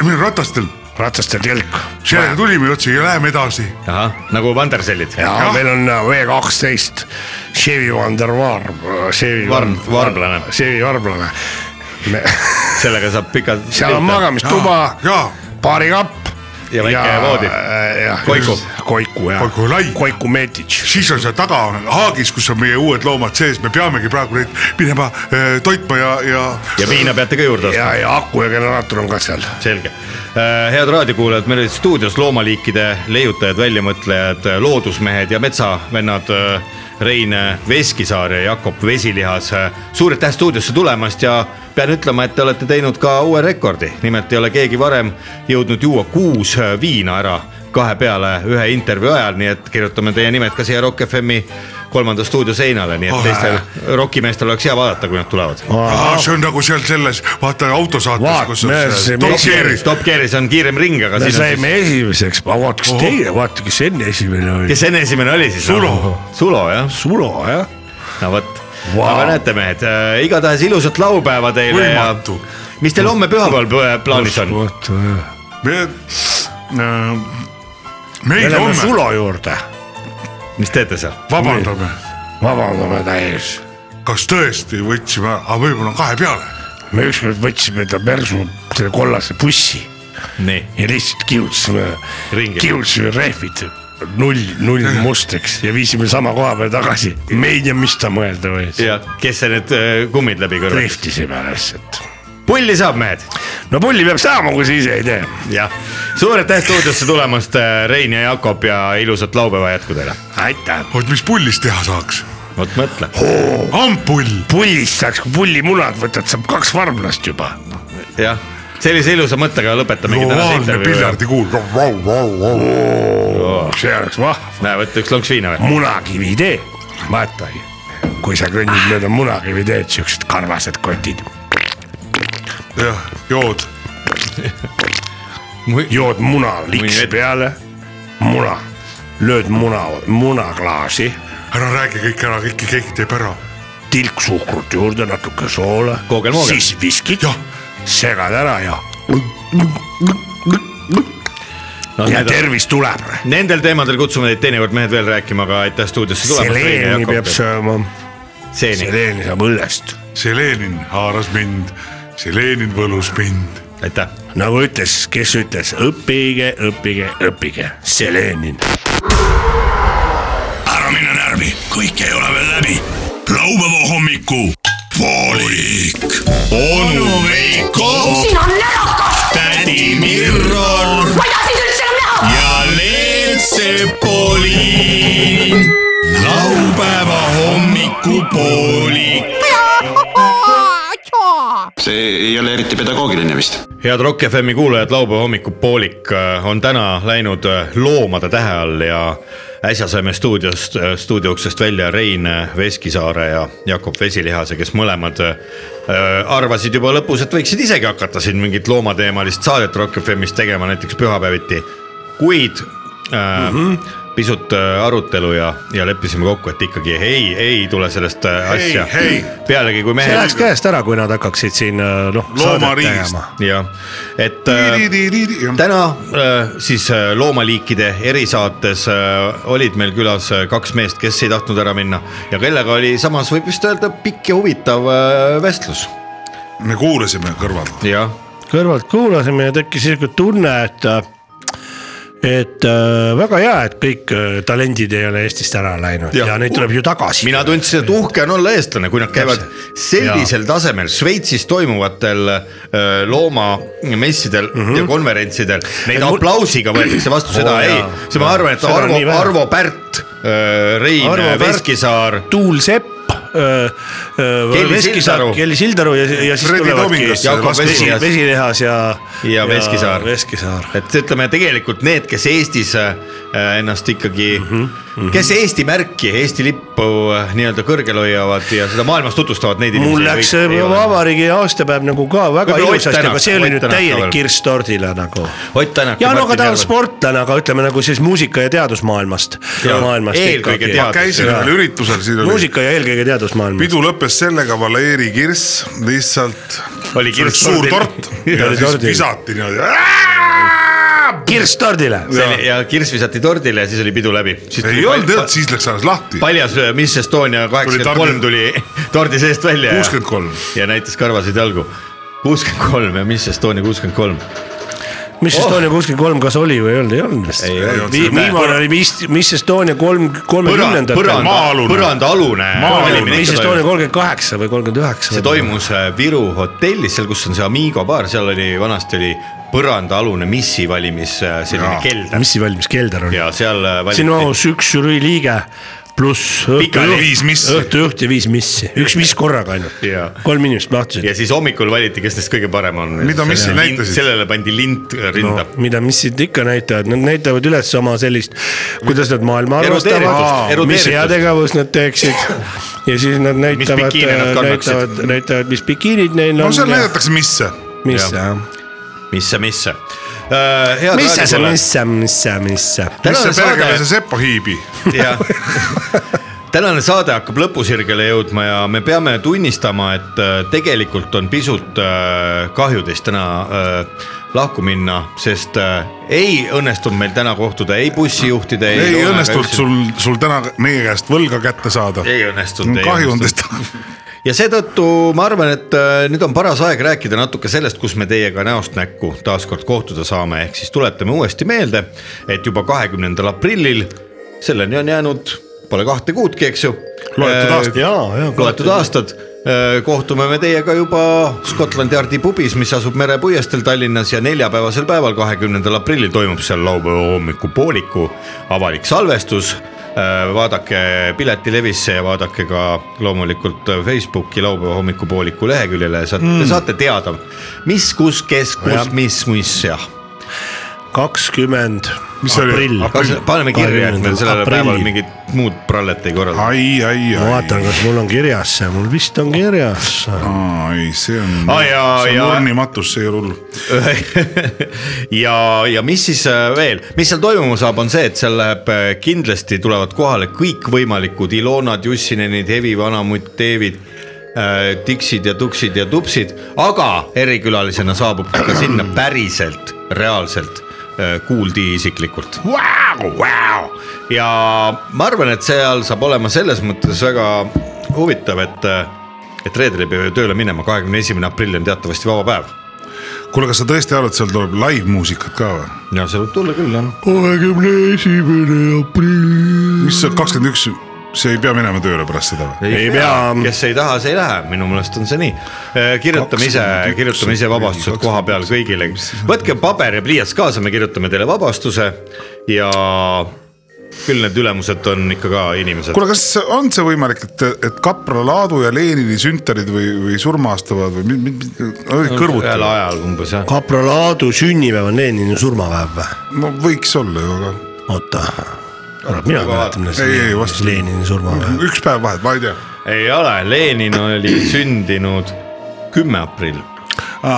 B: meil on ratastel ,
E: ratastel telk
B: sellega tulime otsi ja läheme edasi .
A: ahah , nagu Vandersellid .
E: ja meil on äh, V kaksteist Chevy Vandervar , äh, Chevy
A: Varm- varblane.
E: Chevy varblane .
A: sellega saab pikalt .
E: seal on magamistuba ,
B: jaa ,
E: baarikapp .
A: Ja väike voodi. Koiku.
E: äh, Koiku jah .
B: Koiku lai.
E: Koiku Meetits .
B: siis on seal taga on haagis , kus on meie uued loomad sees , me peamegi praegu neid minema äh, toitma ja , ja .
A: ja viina peate ka juurde ostma ,
E: ja , ja aku ja generaator on ka seal .
A: selge . head raadiokuulajad , meil olid stuudios loomaliikide leiutajad , väljamõtlejad , loodusmehed ja metsavennad . Rein äh, Veskisaar ja Jakob Vesilihas , suur aitäh stuudiosse tulemast ja pean ütlema , et te olete teinud ka uue rekordi , nimelt ei ole keegi varem jõudnud juua kuus äh, viina ära kahe peale ühe intervjuu ajal , nii et kirjutame teie nimed ka siia Rock FM-i kolmanda stuudio seinale , nii et
B: Oh, äh.
A: teistel rokimeestel oleks hea vaadata , kui nad tulevad .
B: see on nagu seal selles , vaata autosaates ,
E: Vaat,
B: kus on
E: näe, see
B: see
E: mees-
B: Top Gearis .
A: Top Gearis on kiirem ring , aga
E: me
A: siis on
E: saime esimeseks , ma vaata , kas teie , vaata , kes enne esimene oli .
A: kes enne esimene oli siis ? Sulo . Sulo jah ,
E: Sulo jah .
A: no vot wow. .
E: Vau.
A: aga näete mehed äh, , igatahes ilusat laupäeva teile
B: Võimatu.
A: ja mis teil homme pühapäeval pla- plaanis on ?
E: äh, me
B: meil
E: läheme
B: homme ,
E: Sulo juurde ,
A: mis teete seal ?
B: vabandame ,
E: vabandame ta ees
B: kas tõesti võtsime , aga võib-olla on kahe peale .
E: me ükskord võtsime ta persu selle kollase bussi
A: nii ,
E: ja lihtsalt kihutasime ,
A: Ringi.
E: kihutasime rehvid null , null musteks ja viisime sama koha peale tagasi . me ei tea , mis ta mõelda võis .
A: ja kes see need äh, kummid läbi kõrvab ?
E: rehvisime lihtsalt .
A: pulli saab mehed ,
E: no pulli peab saama , kui sa ise ei tee .
A: jah . suur aitäh stuudiosse tulemast , Rein ja Jakob ja ilusat laupäeva jätku teile .
E: aitäh .
B: vot mis pullist teha saaks ,
A: vot mõtle ,
B: amppull .
E: pullist saaks , kui pullimunad võtad , saab kaks varblast juba .
A: jah , sellise ilusa mõttega lõpetamegi tänase
B: ovaalne
A: intervjuu .
B: piljardikuul .
E: see oleks vahva .
A: näe , võta üks lonks viina veel .
E: munakivi tee , vaata , kui sa kõnnid mööda munakivi teed , siuksed karvased kotid ,
B: jah , jood ,
E: jood muna liksi
A: vett.
E: peale , muna , lööd muna , munaklaasi ,
B: ära räägi kõik ära , kõiki , keegi teeb ära .
E: tilk suhkrut juurde , natuke soola
A: Koogel-moogel. ,
E: siis viskid , segad ära ja ,
A: No,
E: ja
A: need on-
E: tervis tuleb .
A: Nendel teemadel kutsume teid teinekord mehed veel rääkima , aga aitäh stuudiosse
E: seleeni peab
A: tulemast .
E: sööma ,
A: seeni ,
E: seleeni saab õllest ,
B: see Lenin haaras mind , see Lenin võlus mind .
A: aitäh .
E: nagu ütles , kes ütles , õppige , õppige , õppige , seleeni
D: ära mine närvi , kõik ei ole veel läbi . laupäeva hommiku poolik . onu Veiko ,
F: siin on närakas ,
D: tädi Mirror
F: ma ei taha sind üldse enam näha .
D: ja Leelsepoliin . laupäeva hommikupoolik .
G: see ei ole eriti pedagoogiline vist .
A: head Rock FM-i kuulajad , laupäeva hommikupoolik äh, on täna läinud äh, loomade tähe all ja äsja saime stuudiost , stuudio uksest välja Rein äh, Veskisaare ja Jakob Vesilihase , kes mõlemad äh, arvasid juba lõpus , et võiksid isegi hakata siin mingit loomateemalist saadet Rock FM-is tegema , näiteks pühapäeviti . kuid äh, mm
B: Mhm.
A: -hmm. pisut äh, arutelu ja , ja leppisime kokku , et ikkagi ei , ei tule sellest äh, asja .
B: ei.
A: pealegi , kui
E: see
A: mehed
E: läheks käest ära , kui nad hakkaksid siin äh, noh .
B: Loomariigist. .
A: jah , et äh, täna äh, siis äh, loomaliikide erisaates äh, olid meil külas äh, kaks meest , kes ei tahtnud ära minna ja kellega oli samas võib vist öelda pikk ja huvitav äh, vestlus .
B: me kuulasime kõrvalt .
A: jah ,
E: kõrvalt kuulasime ja tekkis sihuke tunne , et , et äh, väga hea , et kõik äh, talendid ei ole Eestist ära läinud ja,
A: Jah.
E: ja neid tuleb ju tagasi .
A: mina tundsin , et uhke on olla eestlane , kui nad käivad sellisel tasemel Šveitsis toimuvatel äh, loomamessidel mm -hmm. ja konverentsidel . Neid
E: Mhm. mul-
A: aplausiga võetakse vastu , seda
E: Oo,
A: ei
E: jaa. ,
A: siis ma arvan , et
E: Seda on
A: Arvo
E: nii , vähe.
A: Arvo Pärt , Rein
E: Arvo Pärt-
A: Veskisaar
E: Tuul Sepp . äh,
A: Kelly Sildaru.
E: Kelly Sildaru ja , ja siis
B: Fredi
E: tulevadki
B: Tomingas,
A: Jakob
E: vesi-
A: Vesilihas.
E: vesilihas ja .
A: ja Veskisaar .
E: Veskisaar .
A: et ütleme tegelikult need , kes Eestis äh, ennast ikkagi mm ,
E: Mhm,
A: -hmm. kes Eesti märki , Eesti lippu äh, nii-öelda kõrgel hoiavad ja seda maailmas tutvustavad , neid inimesi .
E: mul läks see vabariigi aastapäev nagu ka väga
A: Võib-olla Ott
E: ilusasti ,
A: Tänak-
E: aga see oli
A: Ott
E: nüüd
A: Tänak ka
E: täielik
A: veel.
E: kirss tordile nagu
A: Ott Tänak
E: ja no
A: Martin
E: aga ta on
A: Järve.
E: sportlane , aga ütleme nagu siis muusika ja teadusmaailmast .
A: Jaa, eelkõige teadus.
B: käisin
A: Jaa.
B: ühel üritusel , siin oli ,
E: muusika ja eelkõige teadusmaailmast .
B: pidu lõppes sellega , Valeri Kirss lihtsalt .
A: Oli kirss
B: suur
A: tordil.
B: tort
E: Ta
B: ja
E: oli
B: siis
E: tordil.
B: visati niimoodi .
E: kirss tordile .
A: ja kirss visati tordile ja siis oli pidu läbi .
B: ei olnud jah , siis läks alles lahti .
A: paljas äh, Miss Estonia kaheksakümmend kolm
B: tordil-
A: tuli tordi seest välja .
B: 63.
A: ja näitas karvaseid jalgu . kuuskümmend kolm ja Miss Estonia kuuskümmend kolm .
E: Miss Estonia kuuskümmend kolm , kas oli või ei olnud , ei olnud vist .
A: Oh. Ei olnud, see oli
E: viimane oli Miss , Miss Estonia kolm , kolmekümnendatel .
B: Maa-alune.
A: põrandaalune .
E: Miss Estonia kolmkümmend kaheksa või kolmkümmend üheksa .
A: see . toimus äh, Viru hotellis , seal , kus on see Amigo baar , seal oli vanasti oli põrandaalune missi valimis äh, selline
B: Jaa.
A: kelder
E: mis see valmis kelder oli ?
A: ja seal äh,
E: siin
A: valiti .
E: mahus üks žürii liige pluss
A: Pikali.
E: õhtujuht ,
B: viis missi .
E: õhtujuht ja viis missi , üks miss korraga ainult
A: Jaa. .
E: kolm inimest mahtusid
A: ja . siis hommikul valiti , kes neist kõige parem on .
B: Mida missid näitasid?
A: sellele pandi lint äh, rinda no. .
E: mida missid ikka näitavad , nad näitavad üles oma sellist , kuidas nad maailma
A: Erudeeritust,
E: arvestavad ,
A: erudeeritust.
E: mis heategevus nad teeksid . ja siis nad näitavad ,
A: bikiine nad kannaksid.
E: näitavad , näitavad , mis bikiinid neil on .
B: no seal näidatakse , mis see .
E: mis
A: jah.
E: see ,
A: mis see , mis see . Äh,
E: mis see , mis see , mis see , mis see .
B: mis see perega või see
A: mis see .
B: Sepo hiibi .
A: tänane saade hakkab lõpusirgele jõudma ja me peame tunnistama , et äh, tegelikult on pisut äh, kahju teist täna äh, lahku minna , sest äh, ei õnnestunud meil täna kohtuda ei bussijuhtide .
B: ei õnnestunud . sul , sul täna meie käest võlga kätte saada .
A: ei õnnestunud .
B: kahju on teist .
A: ja seetõttu ma arvan , et äh, nüüd on paras aeg rääkida natuke sellest , kus me teiega näost näkku taaskord kohtuda saame , ehk siis tuletame uuesti meelde , et juba kahekümnendal aprillil , selleni on jäänud , pole kahte kuudki , eks ju .
B: Loetud aastad.
E: ja , ja .
A: loetud aastad , kohtume me teiega juba Scotland Yardi pubis , mis asub merepuiesteel Tallinnas ja neljapäevasel päeval , kahekümnendal aprillil toimub seal laupäeva hommikupooliku avalik salvestus . vaadake Piletilevisse ja vaadake ka loomulikult Facebooki laupäeva hommikupooliku leheküljele , saate mm. , saate teada , mis , kus , kes , kus , mis , mis jah .
E: kakskümmend
B: Mis see oli?
E: aprill .
A: paneme kirja , et meil sellel päeval mingit muud prallet ei korralda .
B: ai , ai ,
E: ma vaatan ,
B: ai ,
E: kas mul on kirjas see , mul vist on kirjas .
B: ai , see on
A: Ai, ja-
B: see
A: ja-
B: on urnimatus , see ei ole hull .
A: ja , ja mis siis äh, veel , mis seal toimuma saab , on see , et seal läheb , kindlasti tulevad kohale kõikvõimalikud Ilonad , Jussinenid , Hevi , Vanamutt , Teevid , Tiksid ja Tuksid ja Tupsid , aga erikülalisena saabub ka sinna päriselt , reaalselt äh, Kuuldi isiklikult wow, . Wow. ja ma arvan , et seal saab olema selles mõttes väga huvitav , et , et reedel ei pea ju tööle minema , kahekümne esimene aprill on teatavasti vaba päev
B: kuule , kas sa tõesti arvad , et seal tuleb live-muusikat ka või ?
A: ja see võib tulla küll jah .
B: mis see kakskümmend üks see ei pea minema tööle pärast seda või ?
C: Ei pea.
A: kes ei taha , see ei lähe , minu meelest on see nii . kirjutame ise , kirjutame ise vabastused koha peal kõigile , võtke paber ja pliiats kaasa , me kirjutame teile vabastuse ja küll need ülemused on ikka ka inimesed .
B: kuule , kas on see võimalik , et , et Kapra Laadu ja Lenini sünterid või , või surma astuvad või mi- mi- mi- kõrvuti
A: ühel ? ajal umbes jah .
E: kapral Aadu sünnipäev on Lenini surmapäev või ?
B: no võiks olla ju , aga
E: oota , kurat , mina mäletan , millal
B: Ei, ei,
E: see
B: vastu-
E: Lenini- Lenini surmapäev .
B: üks päev vahet , ma ei tea .
A: ei ole , Lenin oli sündinud kümme aprill ,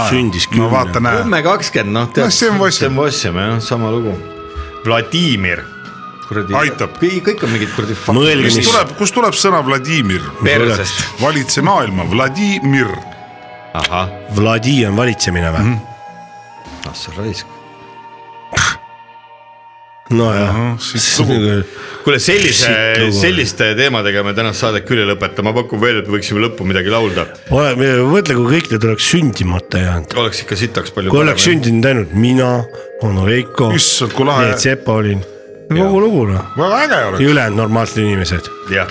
E: Sündis
B: no
E: kümne.
B: vaata , näe .
A: kümme kakskümmend , noh tead .
B: Noh, see on Vossem.
A: see on Vossem jah , sama lugu . Vladimir . kuradi .
B: Aitab.
A: kõik , kõik on mingid kuradi .
E: Mõelge,
B: kust
E: mis-
B: äh, tuleb , kust tuleb sõna Vladimir ?
A: persest .
B: valitse maailma , Vladimir .
A: ahah ,
E: Vladi on valitsemine või ?
B: Mhm.
A: ah sa raisk .
E: nojah , nagu,
A: kuule sellise
E: Sitt lugu. ,
A: selliste teemadega me tänast saadet küll ei lõpeta , ma pakun veel , et võiksime lõppu midagi laulda .
E: ole , mõtle , kui kõik need oleks sündimata jäänud .
A: oleks ikka sitaks palju .
E: kui oleks . sündinud ainult mina , onu Veiko ,
B: issand , kui
E: Leet
B: lahe ,
E: Sepolin , kogu lugu noh .
B: väga äge
E: ja
B: oleks .
E: ülejäänud normaalsed inimesed .
A: jah ,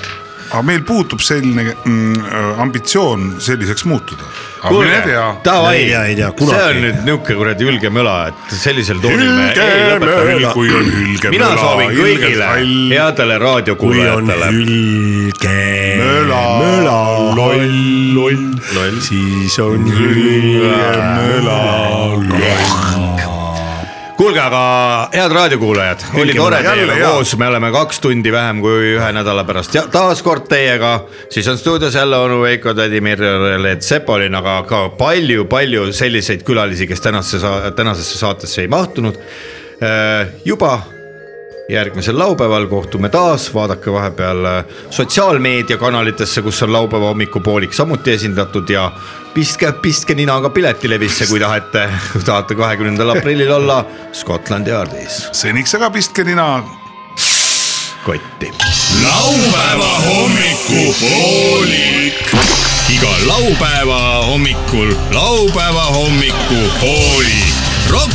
B: aga meil puutub selline mm, ambitsioon selliseks muutuda . aga
A: kuule
B: mine tea .,
A: davai
E: Ei tea, , ei tea, kunagi
A: see on
E: ei
A: nüüd niuke kuradi ülge möla , et sellisel toonil me ei
B: hülgemööla ,
A: lõpeta .
B: kui on hülgemööla .
A: mina soovin kõigile headele
E: kui on
A: raadiokuulajatele .
E: hülge
B: möla ,
E: möla ,
B: loll , loll ,
E: siis on hülge
B: möla ,
A: kuulge , aga head raadiokuulajad , oli tore teiega koos , me oleme kaks tundi vähem kui ühe nädala pärast ja taas kord teiega , siis on stuudios jälle onu Veiko , tädi Mirjal , Leet Sepolin , aga ka palju-palju selliseid külalisi , kes tänasesse , tänasesse saatesse ei mahtunud . juba järgmisel laupäeval kohtume taas , vaadake vahepeal äh, sotsiaalmeediakanalitesse , kus on laupäeva hommikupoolik samuti esindatud ja pistke , pistke ninaga piletilevisse , kui tahate , tahate kahekümnendal aprillil olla Scotland Yardis
B: seniks aga pistke nina
A: kotti .
D: laupäeva hommikupoolik . iga laupäeva hommikul laupäeva hommikupoolik . Rock